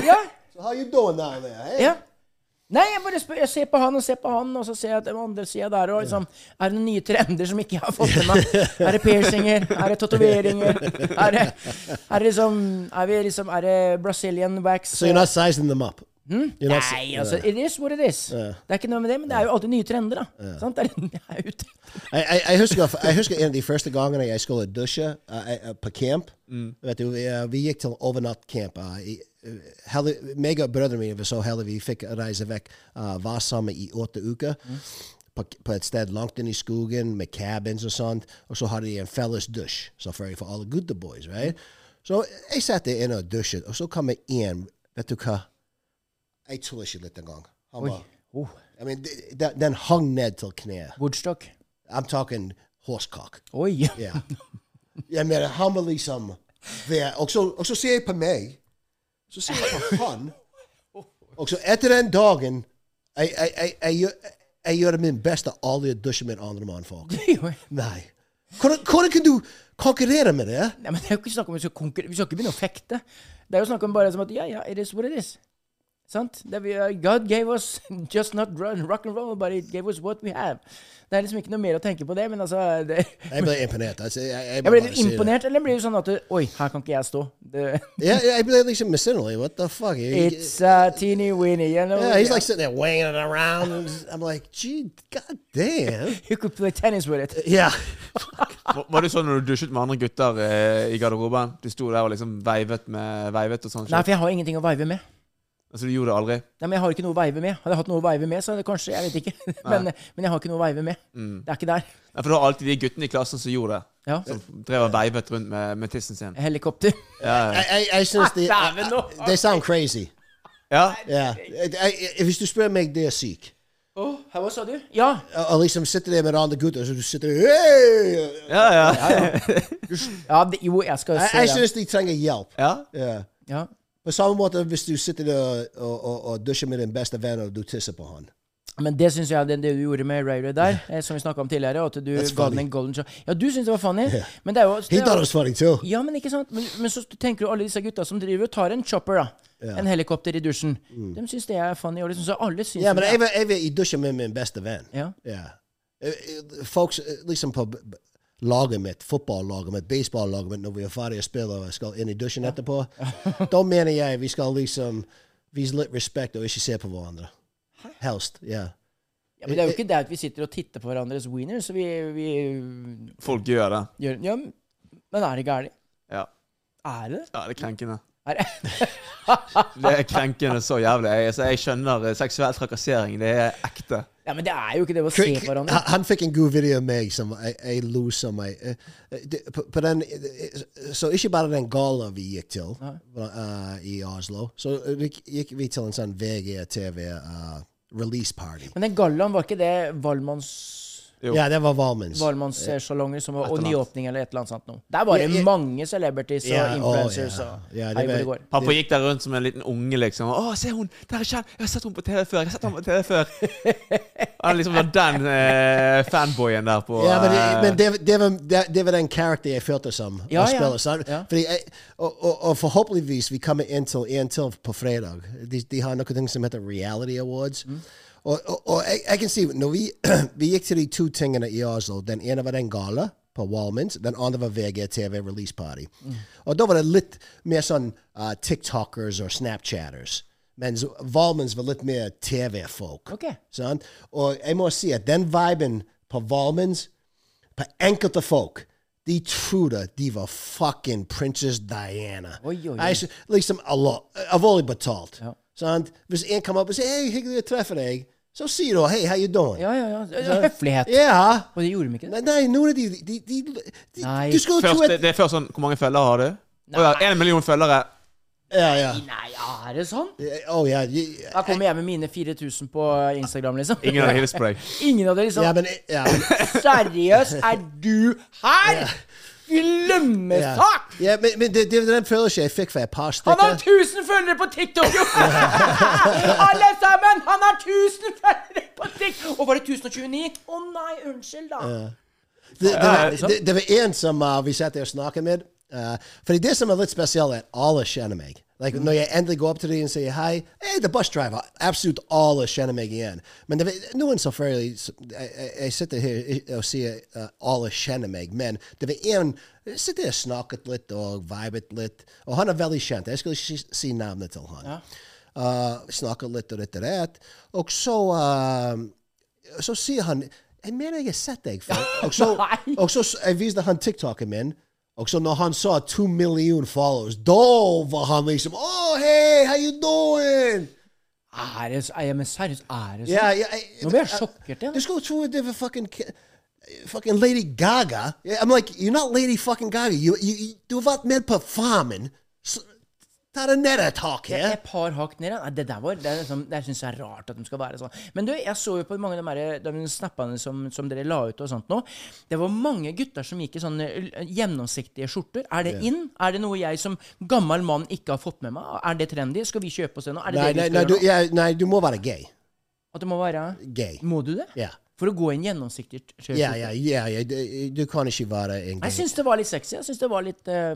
Speaker 4: Ja.
Speaker 2: So how you doing down there? Hey.
Speaker 4: ja. Nei, jeg bare spør, jeg ser på han og ser på han, og så ser jeg at den andre sida der og liksom Er det noen nye trender som ikke jeg har fått med meg? Er det piercinger? Er det tatoveringer? Er det, er det liksom Er vi liksom Er det Brazilian wax?
Speaker 2: So you're not sizing them up. You're not si-
Speaker 4: Hmm? Nei, altså, it is what it is. Det er ikke noe med det, men det er jo alltid nye trender, da. Sant? Det er, det er jo
Speaker 2: Jeg, jeg, jeg, husker, jeg husker en av de første gangene jeg skulle dusje eh, eh, på camp. Vet du, vi, eh, vi gikk til overnatt-camp. eh, i- eh, heldig- meg og brødrene mine var så heldige vi fikk reise vekk. eh, var sammen i åtte uker. På, på et sted langt inn i skogen med cabins og sånt. Og så hadde de en felles dusj selvfølgelig for alle good boys. right? Så jeg satt der inne og dusjet, og så kom jeg inn. Vet du hva? Jeg tuller ikke litt engang. Han bare
Speaker 4: oh.
Speaker 2: I mean, de- de- den hang ned til kneet.
Speaker 4: Woodstock.
Speaker 2: I'm talking horsecock.
Speaker 4: Oi!
Speaker 2: Yeah. jeg mener, han var liksom ved. Og så, og så ser jeg på meg, så ser jeg på han. Og så etter den dagen Jeg, jeg, jeg, jeg, gjør- jeg gjør min beste aldri å dusje med andre mannfolk.
Speaker 4: Nei,
Speaker 2: Nei. Hvordan, hvordan kan du konkurrere med det?
Speaker 4: men det er jo ikke snakk om vi skal konkurrere Vi skal ikke begynne å fekte. Det er jo snakk om bare som at ja, ja, it is what it is. Sant? Det vi, uh, God gave us just not run- rock and roll, but it gave us what we have. Det er liksom ikke noe mer å tenke på det, men altså det,
Speaker 2: Jeg ble imponert. Altså, jeg, jeg, må
Speaker 4: Jeg blir
Speaker 2: bare
Speaker 4: du
Speaker 2: si det.
Speaker 4: imponert, eller blir du sånn at du Oi, her kan ikke jeg stå. Det,
Speaker 2: Ja, jeg ble liksom misunnelig. What the fuck? Jeg-
Speaker 4: it's uh, teeny weeny, you know.
Speaker 2: yeah, he's like sitting there wanging it around. and I'm like, gee, god damn.
Speaker 4: You could play tennis with it.
Speaker 2: Yeah.
Speaker 3: Var- Var det sånn når du dusjet med andre gutter eh, i garderoben? Du sto der og liksom veivet med veivet og sånn?
Speaker 4: Nei,
Speaker 3: shit?
Speaker 4: for jeg har ingenting å veive med.
Speaker 3: Altså, du gjorde det aldri?
Speaker 4: Nei, men jeg har ikke noe å veive med. Hadde jeg hatt noe å veive med, så hadde det kanskje Jeg vet ikke. men, eh, men jeg har ikke noe å veive med.
Speaker 2: Mm.
Speaker 4: Det er ikke der.
Speaker 3: Nei, for det var alltid de guttene i klassen som gjorde det.
Speaker 4: Ja.
Speaker 3: Som drev og veivet rundt med, med tissen sin.
Speaker 4: Helikopter.
Speaker 2: I, I, I sense they,
Speaker 4: Dæven, nå.
Speaker 2: I- they sound crazy.
Speaker 3: Ja?
Speaker 2: Yeah. I, I, hvis du spør meg, det er syk.
Speaker 4: hva sa du? Ja.
Speaker 2: Og og liksom sitter der med andre gutter, så du sitter der hey!
Speaker 3: Ja, ja.
Speaker 4: ja det, jo, jeg skal
Speaker 2: Jeg,
Speaker 4: se
Speaker 2: jeg
Speaker 4: det.
Speaker 2: synes de trenger hjelp.
Speaker 3: ja.
Speaker 2: Ja.
Speaker 4: Ja.
Speaker 2: På samme måte hvis du sitter der og, og, og dusjer med din beste venn, og du tisser på han.
Speaker 4: Men det syns jeg det, det du gjorde med Ray Ray der, eh, som vi snakka om tidligere, at du
Speaker 2: That's
Speaker 4: ga
Speaker 2: funny.
Speaker 4: den en golden shot Ja, du syns det var funny, men det er jo
Speaker 2: He
Speaker 4: det er
Speaker 2: thought
Speaker 4: jo-
Speaker 2: it was funny too.
Speaker 4: Ja, men ikke sant? Men, men så tenker du alle disse gutta som driver og tar en chopper, da. En helikopter i dusjen. De syns det er funny, og liksom, så alle syns
Speaker 2: Mm. Ja, men
Speaker 4: det
Speaker 2: jeg
Speaker 4: er-
Speaker 2: vil, jeg vil dusje med min beste venn.
Speaker 4: Ja.
Speaker 2: Ja. Eh, eh, Folks, eh, liksom på b- b- laget mitt, fotballaget mitt, baseballaget mitt, når vi er ferdige å spille og skal inn i dusjen etterpå, da mener jeg vi skal liksom vise litt respekt og ikke se på hverandre. Helst, ja.
Speaker 4: ja, men det er jo ikke det at vi sitter og titter på hverandres wieners, så vi, vi
Speaker 3: Folk gjør det.
Speaker 4: Gjør, ja, men men er det gærent?
Speaker 3: Ja.
Speaker 4: Er det det?
Speaker 3: ja, det er krenkende.
Speaker 4: Er det?
Speaker 3: Det er krenkende så jævlig. Jeg, altså, jeg skjønner eh, seksuell trakassering. Det er ekte.
Speaker 4: Ja, men det er jo ikke det å se på hverandre.
Speaker 2: Han- Han fikk en god video av meg som jeg, jeg lo som jeg eh, eh, det- på, på den, eh, eh, Så ikke bare den gala vi gikk til eh, i Oslo, uh, så gikk gikk vi til en sånn VGTV eh, release party.
Speaker 4: Men den gallaen, var ikke det Valmanns
Speaker 3: Jo.
Speaker 2: Ja, det var Valmens.
Speaker 4: Varmannssalonger som var, og
Speaker 3: annet.
Speaker 4: nyåpning eller et eller annet sånt noe. Der var det
Speaker 2: Ja, ja.
Speaker 4: mange celebrities og
Speaker 2: Ja, å,
Speaker 4: influencers
Speaker 2: ja.
Speaker 4: og
Speaker 2: Ja, det
Speaker 4: hei hvor det
Speaker 2: var-
Speaker 4: går.
Speaker 3: Pappa gikk der rundt som en liten unge, liksom. 'Å, se hun! Der er Kjell! Jeg har sett henne på TV før!' Jeg har sett henne på TV før Han liksom var den eh, fanboyen der på
Speaker 2: Ja, men, det,
Speaker 3: eh,
Speaker 2: men det, det, var, det, det var den karakter jeg følte som. å
Speaker 4: Ja, ja.
Speaker 2: spille. Så,
Speaker 4: Ja.
Speaker 2: fordi jeg, og, og, og forhåpentligvis vi kommer inn til en til på fredag. De, de har noe ting som heter Reality Awards.
Speaker 4: Mhm.
Speaker 2: Og, og, og jeg, jeg kan si, når vi, vi gikk til de to tingene i Oslo, den ene var den gala på Wallmans, den andre var VGTV Release Party.
Speaker 4: Mhm.
Speaker 2: Og da var det litt mer sånn uh, TikTokers og Snapchatters. Mens Wallmans var litt mer TV-folk.
Speaker 4: Ok.
Speaker 2: Sånn? Og jeg må si at den viben på Valmens, på enkelte folk de trodde de var fucking prinsesse Diana.
Speaker 4: Oi, oi, oi.
Speaker 2: Jeg sy- liksom alle, alvorlig betalt.
Speaker 4: Ja.
Speaker 2: Sant? Hvis en kommer opp og sier 'Hei, hyggelig å treffe deg', så sier du 'Hei, how you doing'?
Speaker 4: Ja, ja, ja. Altså, Høflighet.
Speaker 2: Ja.
Speaker 4: Og det gjorde de ikke.
Speaker 2: Nei, nei, noen av de, de, de, de,
Speaker 4: Nei.
Speaker 2: Du skulle tro
Speaker 3: først, det,
Speaker 2: at
Speaker 3: det er først sånn Hvor mange følgere har du? Å ja, én million følgere.
Speaker 2: Ja, ja.
Speaker 4: Nei, ja, er det sånn?
Speaker 2: Oh, ja. de-
Speaker 4: Da kommer jeg med mine 4000 på Instagram, liksom.
Speaker 3: Ingen hadde hilst på deg.
Speaker 4: Ingen av dere liksom
Speaker 2: ja, men, ja, men
Speaker 4: Seriøst, er du her?!
Speaker 2: ja.
Speaker 4: Glemmesak!
Speaker 2: ja, men, men det, det var den følelsen jeg fikk for et par
Speaker 4: Han har
Speaker 2: stykker.
Speaker 4: 1000 følgere på TikTok, jo! Alle sammen! Han har 1000 følgere på TikTok! Og var det 1029? Å nei, unnskyld, da.
Speaker 2: Det, det,
Speaker 3: Ja,
Speaker 2: var,
Speaker 3: liksom.
Speaker 2: det, det var en som uh, vi satt der og snakket med. Uh, fordi det som er litt spesielt, er at alle kjenner meg. Like, Når jeg endelig går opp til dem og sier hei hey, the bus driver, Absolutt alle kjenner meg igjen. Men det var noen selvfølgelig s- Jeg, jeg- jeg sitter her og sier uh, alle kjenner meg, men det var en jeg sitter og snakket litt og vibet litt. Og han er veldig kjent. Jeg skulle ikke si- si navnet til han. Uh, snakket litt og litt og rett. Og så uh, Så sier han Jeg mener jeg har sett deg før. Og så,
Speaker 4: Nei.
Speaker 2: og så s- jeg viste han TikToken min. Og så når han sa to million followers, da var han liksom Oh, hey, how you doing?
Speaker 4: Er det så- er jeg- Men seriøst, er det
Speaker 2: Ja,
Speaker 4: sånn?
Speaker 2: ja, jeg-
Speaker 4: Nå blir jeg sjokkert
Speaker 2: Du
Speaker 4: igjen.
Speaker 2: skulle tro det var fucking ki- Fucking Lady Gaga. Yeah, I'm like, you're not Lady fucking Gaga. You, you, you, du har vært med på Farmen. Så- Ta det ned et tak
Speaker 4: Et
Speaker 2: her.
Speaker 4: et par hakk ned. ja. Nei, Det der var, det er liksom, det syns jeg er rart at de skal være sånn. Men du, jeg så jo på mange av de, her- de snappene som, som dere la ut og sånt nå. Det var mange gutter som gikk i sånne l- gjennomsiktige skjorter. Er det inn? Er det noe jeg som gammel mann ikke har fått med meg? Er det trendy? Skal vi kjøpe oss det nå? Er det
Speaker 2: Nei,
Speaker 4: det vi
Speaker 2: nei,
Speaker 4: skal
Speaker 2: nei,
Speaker 4: gjøre
Speaker 2: du,
Speaker 4: nå?
Speaker 2: ja, nei, du må være gay.
Speaker 4: At det må være
Speaker 2: Gay.
Speaker 4: Må du det?
Speaker 2: Ja.
Speaker 4: For å gå i en gjennomsiktig t- skjorte?
Speaker 2: Ja, ja, ja, ja. Du, du kan ikke være en gay.
Speaker 4: Jeg syns det var litt sexy. Jeg syns det var litt eh,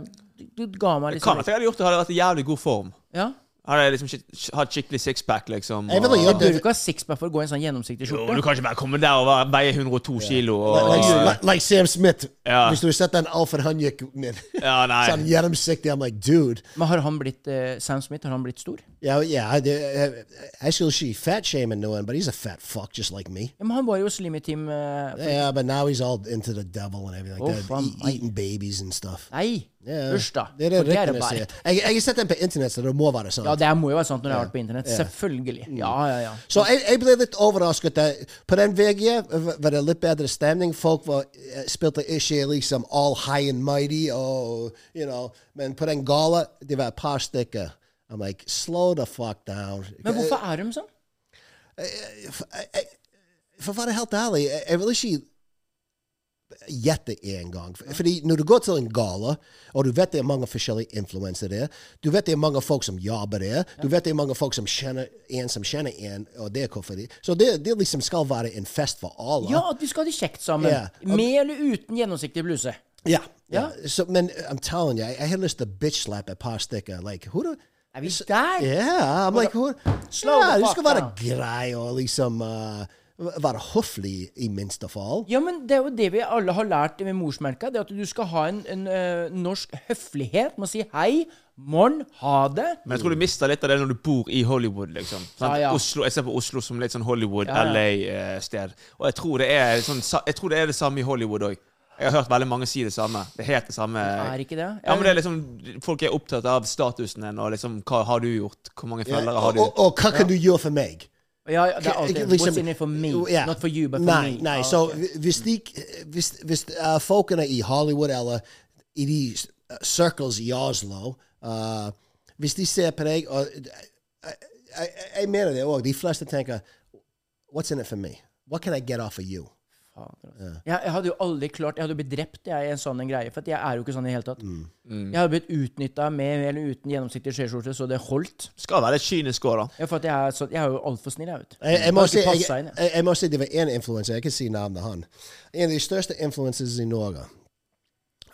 Speaker 4: Du du ga meg
Speaker 3: Det
Speaker 4: litt sånn-
Speaker 3: kan at jeg hadde gjort det, hadde jeg vært i jævlig god form.
Speaker 4: Ja?
Speaker 3: Hadde jeg liksom skik- hatt skikkelig sixpack, liksom.
Speaker 2: Jeg vil ha
Speaker 4: Bør du
Speaker 2: gjort det.
Speaker 4: ikke ha sixpack for å gå i en sånn gjennomsiktig
Speaker 3: Jo,
Speaker 4: skjorte?
Speaker 3: du kan ikke bare komme der og være- veie 102 kilo og
Speaker 2: Like, like, like Sam Smith.
Speaker 3: Ja.
Speaker 2: Hvis du har sett den Alfred han gikk med
Speaker 3: Ja, nei.
Speaker 2: sånn gjennomsiktig, I'm like, dude.
Speaker 4: Men har han blitt eh, Sam Smith, har han blitt stor?
Speaker 2: Ja, ja, det, jeg, jeg skulle si uh, fat shaming noen, but he's a fat fuck just like me.
Speaker 4: Ja, men han var jo slim i team eh, for-
Speaker 2: Yeah, but now he's all into the devil and everything like
Speaker 4: Oh,
Speaker 2: that,
Speaker 4: from
Speaker 2: e-
Speaker 4: my-
Speaker 2: eating babies and stuff.
Speaker 4: Nei!
Speaker 2: Yeah.
Speaker 4: Usch, da.
Speaker 2: Det er det
Speaker 4: For det er
Speaker 2: ryktene
Speaker 4: det bare.
Speaker 2: sier. Jeg, jeg har sett den på internett, så det må være sant.
Speaker 4: Ja, det må jo være sant når det har vært på internett. Selvfølgelig.
Speaker 2: Mm.
Speaker 4: Ja, ja, ja.
Speaker 2: Så jeg, jeg ble litt overrasket. der. På den veien var det litt bedre stemning. Folk var, eh, spilte ikke liksom all high and mighty. Og, you know. Men på den gala, det var et par stykker. uh, I'm like, slow the fuck down.
Speaker 4: Men hvorfor er de sånn?
Speaker 2: For å være helt ærlig, jeg, jeg vil ikke gjette en gang. Fordi når du går til en gala, og du vet det er mange forskjellige influenser der, du vet det er mange folk som jobber der, du vet det er mange folk som kjenner en som kjenner en, og det er hvorfor de Så det, det liksom skal være en fest for alle.
Speaker 4: Ja, at vi skal ha det kjekt sammen.
Speaker 2: Ja.
Speaker 4: Med eller uten gjennomsiktig bluse.
Speaker 2: Ja. ja. Så, men I'm telling you, jeg, jeg har lyst til å bitch-slappe et par stykker. uh, Like, who do...
Speaker 4: Er vi der?
Speaker 2: Yeah, I'm like, who,
Speaker 4: Slow
Speaker 2: ja,
Speaker 4: the
Speaker 2: du
Speaker 4: fuck
Speaker 2: skal være
Speaker 4: down.
Speaker 2: grei og liksom eh, være høflig, i minste fall.
Speaker 4: Ja, men det er jo det vi alle har lært med morsmelka. Det er at du skal ha en, en eh, norsk høflighet med å si hei, morn, ha det.
Speaker 3: Men jeg tror du mister litt av det når du bor i Hollywood, liksom. Sant?
Speaker 4: Ja, ja.
Speaker 3: Oslo, jeg ser på Oslo som litt sånn
Speaker 4: Ja, ja.
Speaker 3: Hollywood-LA-sted. eh, Og jeg tror, det er sånn, sa- jeg tror det er det samme i Hollywood òg. Jeg har hørt veldig mange si det samme. Det er helt det samme.
Speaker 4: Er ikke det?
Speaker 3: Ja, men det er liksom, Folk er opptatt av statusen din og liksom Hva har du gjort? Hvor mange
Speaker 2: Ja,
Speaker 3: følgere har
Speaker 2: og,
Speaker 3: du?
Speaker 2: og, og hva kan du gjøre for meg?
Speaker 4: Ja, ja, det er alltid
Speaker 2: Liksom-
Speaker 4: What's in it for me?
Speaker 2: Ja.
Speaker 4: Not for you, but for
Speaker 2: nei,
Speaker 4: me.
Speaker 2: Nei,
Speaker 4: Ah,
Speaker 2: så
Speaker 4: ok.
Speaker 2: hvis, de, hvis, hvis eh, folkene i Hollywood eller i de eh, circles i Oslo eh, Hvis de ser på deg og eh, jeg, jeg, jeg mener det òg. De fleste tenker What's in it for me? What can I get off of you?
Speaker 4: faen. Altså. Jeg, jeg hadde jo aldri klart Jeg hadde jo blitt drept jeg, i en sånn en greie. For at jeg er jo ikke sånn i det hele tatt.
Speaker 2: Mm.
Speaker 4: Jeg hadde blitt utnytta med eller uten gjennomsiktig skjeskjorte, så det holdt.
Speaker 3: Skal være litt kynisk òg, da.
Speaker 4: Ja, for at jeg, er sånn- jeg er jo altfor snill, jeg, vet er du.
Speaker 2: Jeg, jeg, må
Speaker 4: Kan
Speaker 2: si,
Speaker 4: ikke
Speaker 2: jeg,
Speaker 4: passe inn, jeg.
Speaker 2: jeg, jeg må si det var én influenser. Jeg kan si navnet han. En av de største influenserne i Norge.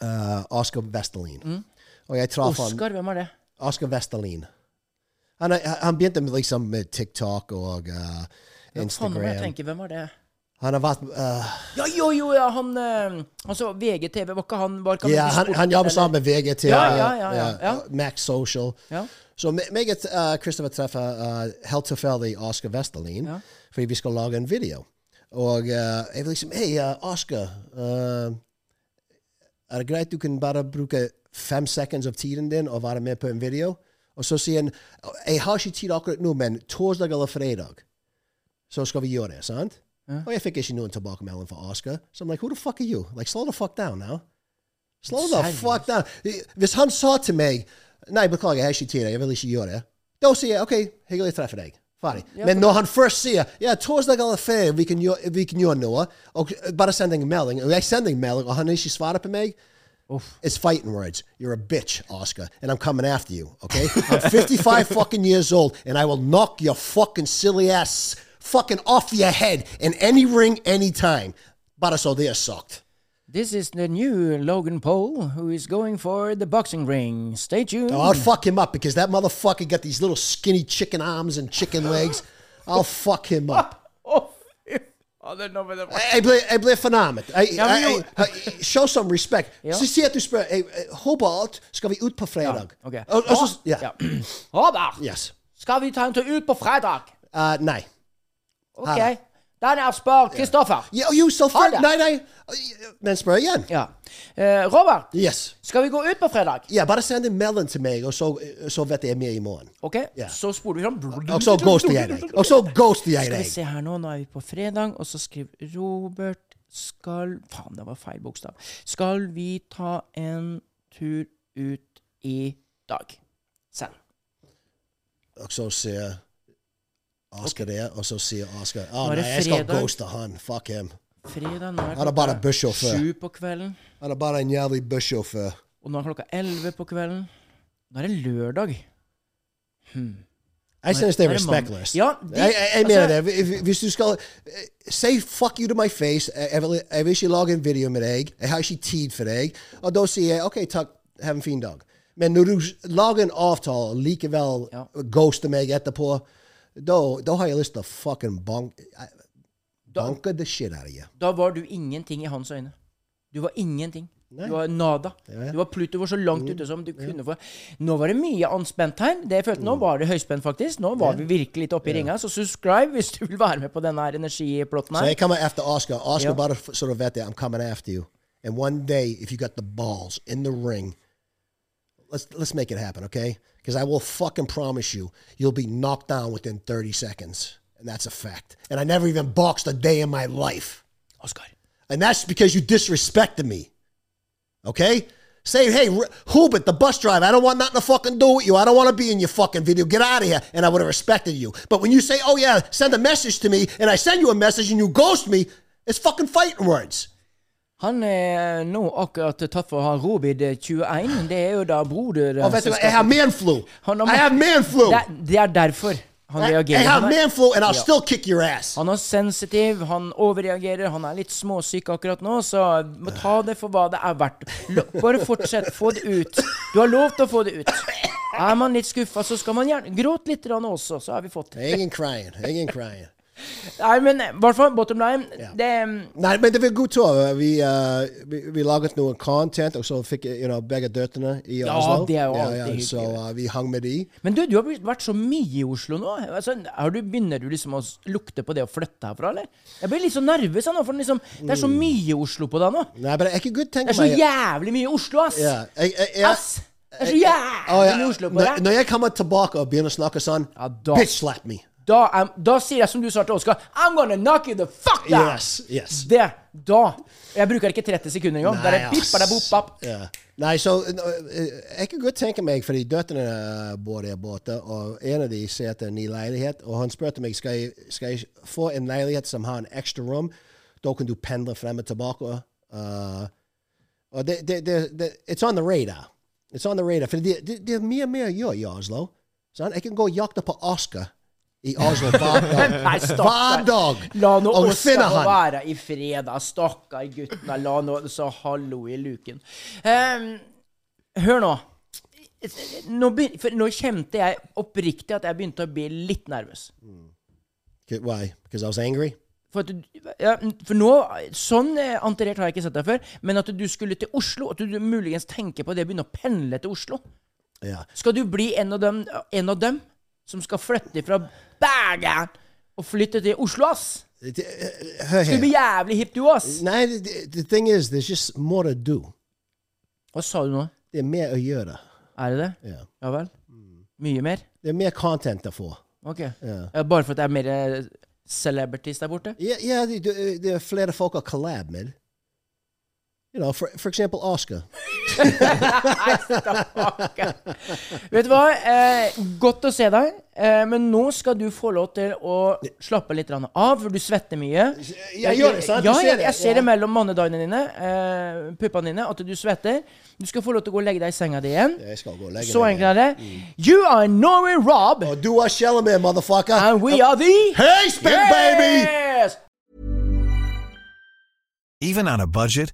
Speaker 2: Uh, Oscar Vestelin.
Speaker 4: Mm.
Speaker 2: Og jeg traff han
Speaker 4: Oskar, hvem er det?
Speaker 2: Oscar Vestelin. Han, er- han begynte med, liksom, med TikTok og uh,
Speaker 4: Faen, nå må jeg
Speaker 2: Instagram.
Speaker 4: tenke, hvem er det?
Speaker 2: Han har vært uh,
Speaker 4: Ja, jo, jo, ja, han eh, Han så VGTV, var ikke han var ikke
Speaker 2: Ja,
Speaker 4: han
Speaker 2: han, han jobber sammen med VGT.
Speaker 4: Ja, ja, ja, ja,
Speaker 2: uh,
Speaker 4: ja.
Speaker 2: Max Social.
Speaker 4: Ja.
Speaker 2: Så me- meg og uh, Christopher treffer uh, helt tilfeldig Oscar Vestelin,
Speaker 4: Ja.
Speaker 2: fordi vi skal lage en video. Og uh, jeg vil liksom Hei, uh, Oscar. Uh, er det greit du kan bare bruke fem sekunder av tiden din og være med på en video? Og så sier han Jeg har ikke tid akkurat nå, men torsdag eller fredag så skal vi gjøre det. sant? Og jeg fikk ikke noen tilbakemelding fra Oscar. Så I'm like, who the fuck are you? Like, slow the fuck down now. Slow the fuck down. Hvis han sa til meg Nei, beklager, jeg har ikke tid. Jeg vil ikke gjøre det. Da sier jeg OK, hyggelig å treffe deg. Ferdig. Men når han først sier ja, torsdag eller fredag vi, kan gjøre- vi kan gjøre noe, og bare send en melding Og jeg sender en melding, og han ikke svarer på meg It's fighting words. You're a bitch, Oscar, and I'm coming after you, okay? I'm 55 fucking years old, and I will knock your fucking silly ass fucking off your head in any ring, anytime. But so they are sucked.
Speaker 4: This is the new Logan Paul, who is going for the boxing ring. Stay tuned.
Speaker 2: I'll fuck him up because that motherfucker got these little skinny chicken arms and chicken legs. I'll fuck him up.
Speaker 4: Å, fy fader, nå ble det
Speaker 2: Jeg ble, jeg ble fornærmet. Jeg,
Speaker 4: Ja, men
Speaker 2: jeg,
Speaker 4: jo-
Speaker 2: jeg, show some respect.
Speaker 4: Ja.
Speaker 2: Så si at du spør jeg, jeg, Hobart, skal vi ut på fredag?
Speaker 4: Ok.
Speaker 2: Og, og så, ja.
Speaker 4: Ja. Robert,
Speaker 2: Yes.
Speaker 4: skal vi ta en tur ut på fredag?
Speaker 2: Uh, nei.
Speaker 4: Ok.
Speaker 2: Her.
Speaker 4: Daniel spør Kristoffer.
Speaker 2: Ja, jo, selvfølgelig.
Speaker 4: det.
Speaker 2: Nei, nei. Men spør igjen.
Speaker 4: Ja. Eh, Robert,
Speaker 2: Yes.
Speaker 4: skal vi gå ut på fredag?
Speaker 2: Ja, bare send en melding til meg, og så, så vet jeg mer i morgen.
Speaker 4: Ok,
Speaker 2: Ja.
Speaker 4: så spoler vi fram.
Speaker 2: Og så ghoster jeg deg. Og så ghoster jeg
Speaker 4: Skal vi
Speaker 2: deg.
Speaker 4: se her nå, nå er vi på fredag, og så skriver Robert skal Faen, det var feil bokstav. Skal vi ta en tur ut i dag? Send.
Speaker 2: Og så sier Oscar det, og så sier Oscar Å
Speaker 4: Nå
Speaker 2: nei,
Speaker 4: er det
Speaker 2: jeg skal
Speaker 4: fredag.
Speaker 2: ghoste han. Fuck him.
Speaker 4: Fredag nå er
Speaker 2: Han er bare
Speaker 4: klokka
Speaker 2: bussjåfør.
Speaker 4: sju på kvelden,
Speaker 2: Han er bare en jævlig bussjåfør.
Speaker 4: og nå er klokka elleve på kvelden. Nå er det lørdag.
Speaker 2: Jeg synes det er
Speaker 4: Nei, det er mann-
Speaker 2: respektløst.
Speaker 4: Ja, de-
Speaker 2: jeg, jeg, jeg mener
Speaker 4: altså-
Speaker 2: det. Hvis- Hvis du skal eh, Si fuck you to my face. eh, Jeg jeg vil, jeg vil ikke lage en video eh, med deg. Jeg har ikke tid for Oh, deg. Og da sier jeg OK, takk, ha en fin dag. Men når du s- lager en avtale og likevel
Speaker 4: Ja.
Speaker 2: ghoster meg etterpå, da da har jeg lyst til å fucking bank, eh, banke the shit out of you.
Speaker 4: Da var du ingenting i hans øyne. Du var ingenting. Du var nada.
Speaker 2: ja.
Speaker 4: Du var Pluto var så
Speaker 2: Mm.
Speaker 4: langt ute som du kunne få. Nå var det mye anspent her. Det jeg følte
Speaker 2: Mm.
Speaker 4: Nå var det høyspent, faktisk. Nå var vi virkelig litt oppe i ringa. Så subscribe hvis du vil være med på denne her energiplotten
Speaker 2: So
Speaker 4: her.
Speaker 2: they come after Oscar. Oscar
Speaker 4: Yeah.
Speaker 2: about a sort of vet that I'm coming after you. And one day, if you got the balls in the ring, let's let's make it happen, okay? Because I will fucking promise you, you'll be knocked down within 30 seconds, and that's a fact. And I never even boxed a day in my life,
Speaker 4: Oskar.
Speaker 2: and that's because you disrespected me, okay? Say, hey, R- Hubert, the bus driver, I don't want nothing to fucking do with you. I don't want to be in your fucking video. Get out of here. And I would have respected you. But when you say, oh, yeah, send a message to me, and I send you a message and you ghost me, it's fucking fighting words.
Speaker 4: Han er nå akkurat tatt for å ha Robid21. Det er jo da broder
Speaker 2: Oh, that's- I have man flu. I have man flu.
Speaker 4: Det, er- det er derfor han
Speaker 2: I, I
Speaker 4: reagerer. sånn
Speaker 2: have
Speaker 4: Han er-
Speaker 2: man flu, and I'll
Speaker 4: Yeah.
Speaker 2: still kick your ass.
Speaker 4: Han er sensitiv, han overreagerer, han er litt småsyk akkurat nå, så må ta det for hva det er verdt. L- Bare fortsett, få det ut. Du har lov til å få det ut. Er man litt skuffa, så skal man gjerne Gråt litt grann også, så har vi fått det.
Speaker 2: Hanging crying. Hanging crying.
Speaker 4: Nei, men i hvert fall, bottom line, det
Speaker 2: Nei, men det var en god tur. Vi, eh, vi, vi laget noe content, og så fikk jeg, you know, begge døtrene i
Speaker 4: Ja,
Speaker 2: Oslo.
Speaker 4: det er jo
Speaker 2: Ja,
Speaker 4: alltid
Speaker 2: ja,
Speaker 4: hyggelig.
Speaker 2: Så eh, vi hang med de.
Speaker 4: Men du, du har blitt- vært så mye i Oslo nå. Altså, har du, begynner du liksom å s- lukte på det å flytte herfra, eller? Jeg blir litt så nervøs jeg nå, for liksom, det er så
Speaker 2: Mm.
Speaker 4: mye Oslo på deg nå.
Speaker 2: Nei, men jeg kan godt
Speaker 4: Det
Speaker 2: tenke
Speaker 4: er så
Speaker 2: meg
Speaker 4: jævlig mye Oslo, ass!
Speaker 2: Ja, jeg, jeg, jeg,
Speaker 4: Ass! Det Altså,
Speaker 2: Å,
Speaker 4: er så
Speaker 2: ja.
Speaker 4: jævlig mye Oslo på
Speaker 2: når,
Speaker 4: deg.
Speaker 2: når jeg kommer tilbake og begynner å snakke sånn,
Speaker 4: Ja, da-
Speaker 2: bitch slap me.
Speaker 4: Da, er- da sier jeg som du sa til Oskar I'm gonna knock you the fuck down!
Speaker 2: Yes, yes.
Speaker 4: Det, da. Jeg bruker ikke 30 sekunder engang. Der er
Speaker 2: Nei,
Speaker 4: pip,
Speaker 2: ass.
Speaker 4: der er bop, bap.
Speaker 2: Ja. Nei, så eh, eh, Jeg kan godt tenke meg, fordi døtrene bor der borte, og en av de ser etter en ny leilighet, og han spurte meg skal jeg skal jeg få en leilighet som har en ekstra rom. Da kan du pendle frem og tilbake. eh, og det, det, det, det, it's on the radar. It's on the radar. For det, det, det er mye mer å gjøre i Oslo. Sånn? Jeg kan gå og jakte på Oscar i Oslo hver dag.
Speaker 4: Nei, stakkar.
Speaker 2: hver dag!
Speaker 4: La nå
Speaker 2: Og
Speaker 4: oss
Speaker 2: finne han.
Speaker 4: være i fred, da. Stakkar gutta. La nå så hallo i luken. Ehm, hør nå. Nå, begyn- for nå kjente jeg oppriktig at jeg begynte å bli litt nervøs.
Speaker 2: Why? Because I was angry?
Speaker 4: For, at du, ja, for nå, Sånn eh, anterert har jeg ikke sett deg før, men at du skulle til Oslo, at du muligens tenker på det å begynne å pendle til Oslo
Speaker 2: Ja.
Speaker 4: Skal du bli en av dem, en av dem som skal flytte fra Bergen og flytte til Oslo, ass?
Speaker 2: Det- eh, Hør
Speaker 4: Du blir
Speaker 2: her.
Speaker 4: jævlig hipp, du, ass!
Speaker 2: Nei, the, the thing is, there's just more to do.
Speaker 4: Hva sa du nå?
Speaker 2: Det er mer å gjøre.
Speaker 4: Er det det?
Speaker 2: Ja.
Speaker 4: Ja vel? Mye mer?
Speaker 2: Det er mer content å få.
Speaker 4: Ok.
Speaker 2: Ja.
Speaker 4: Ja, bare for at det er mer eh, celebrities der borte?
Speaker 2: Ja, ja det, det- det er flere folk å collab med. You know, for, for eksempel Oscar.
Speaker 4: Vet du hva? Eh, godt å se deg, eh, men nå skal du få lov til å slappe litt grann av, for du svetter mye.
Speaker 2: Jeg gjør det, sant? Du
Speaker 4: Ja,
Speaker 2: ser
Speaker 4: jeg,
Speaker 2: det,
Speaker 4: jeg ser
Speaker 2: ja.
Speaker 4: det mellom mannedagene dine, eh, puppene dine, at du svetter. Du skal få lov til å gå og legge deg i senga di igjen.
Speaker 2: Jeg skal gå og legge
Speaker 4: Så
Speaker 2: meg.
Speaker 4: enkelt er det.
Speaker 2: Mm.
Speaker 4: You are Norway Rob,
Speaker 2: Og du er skjellet med, motherfucker!
Speaker 4: and we are the
Speaker 2: Oh, Hey, spin baby!
Speaker 4: Yes!
Speaker 8: Even on a budget,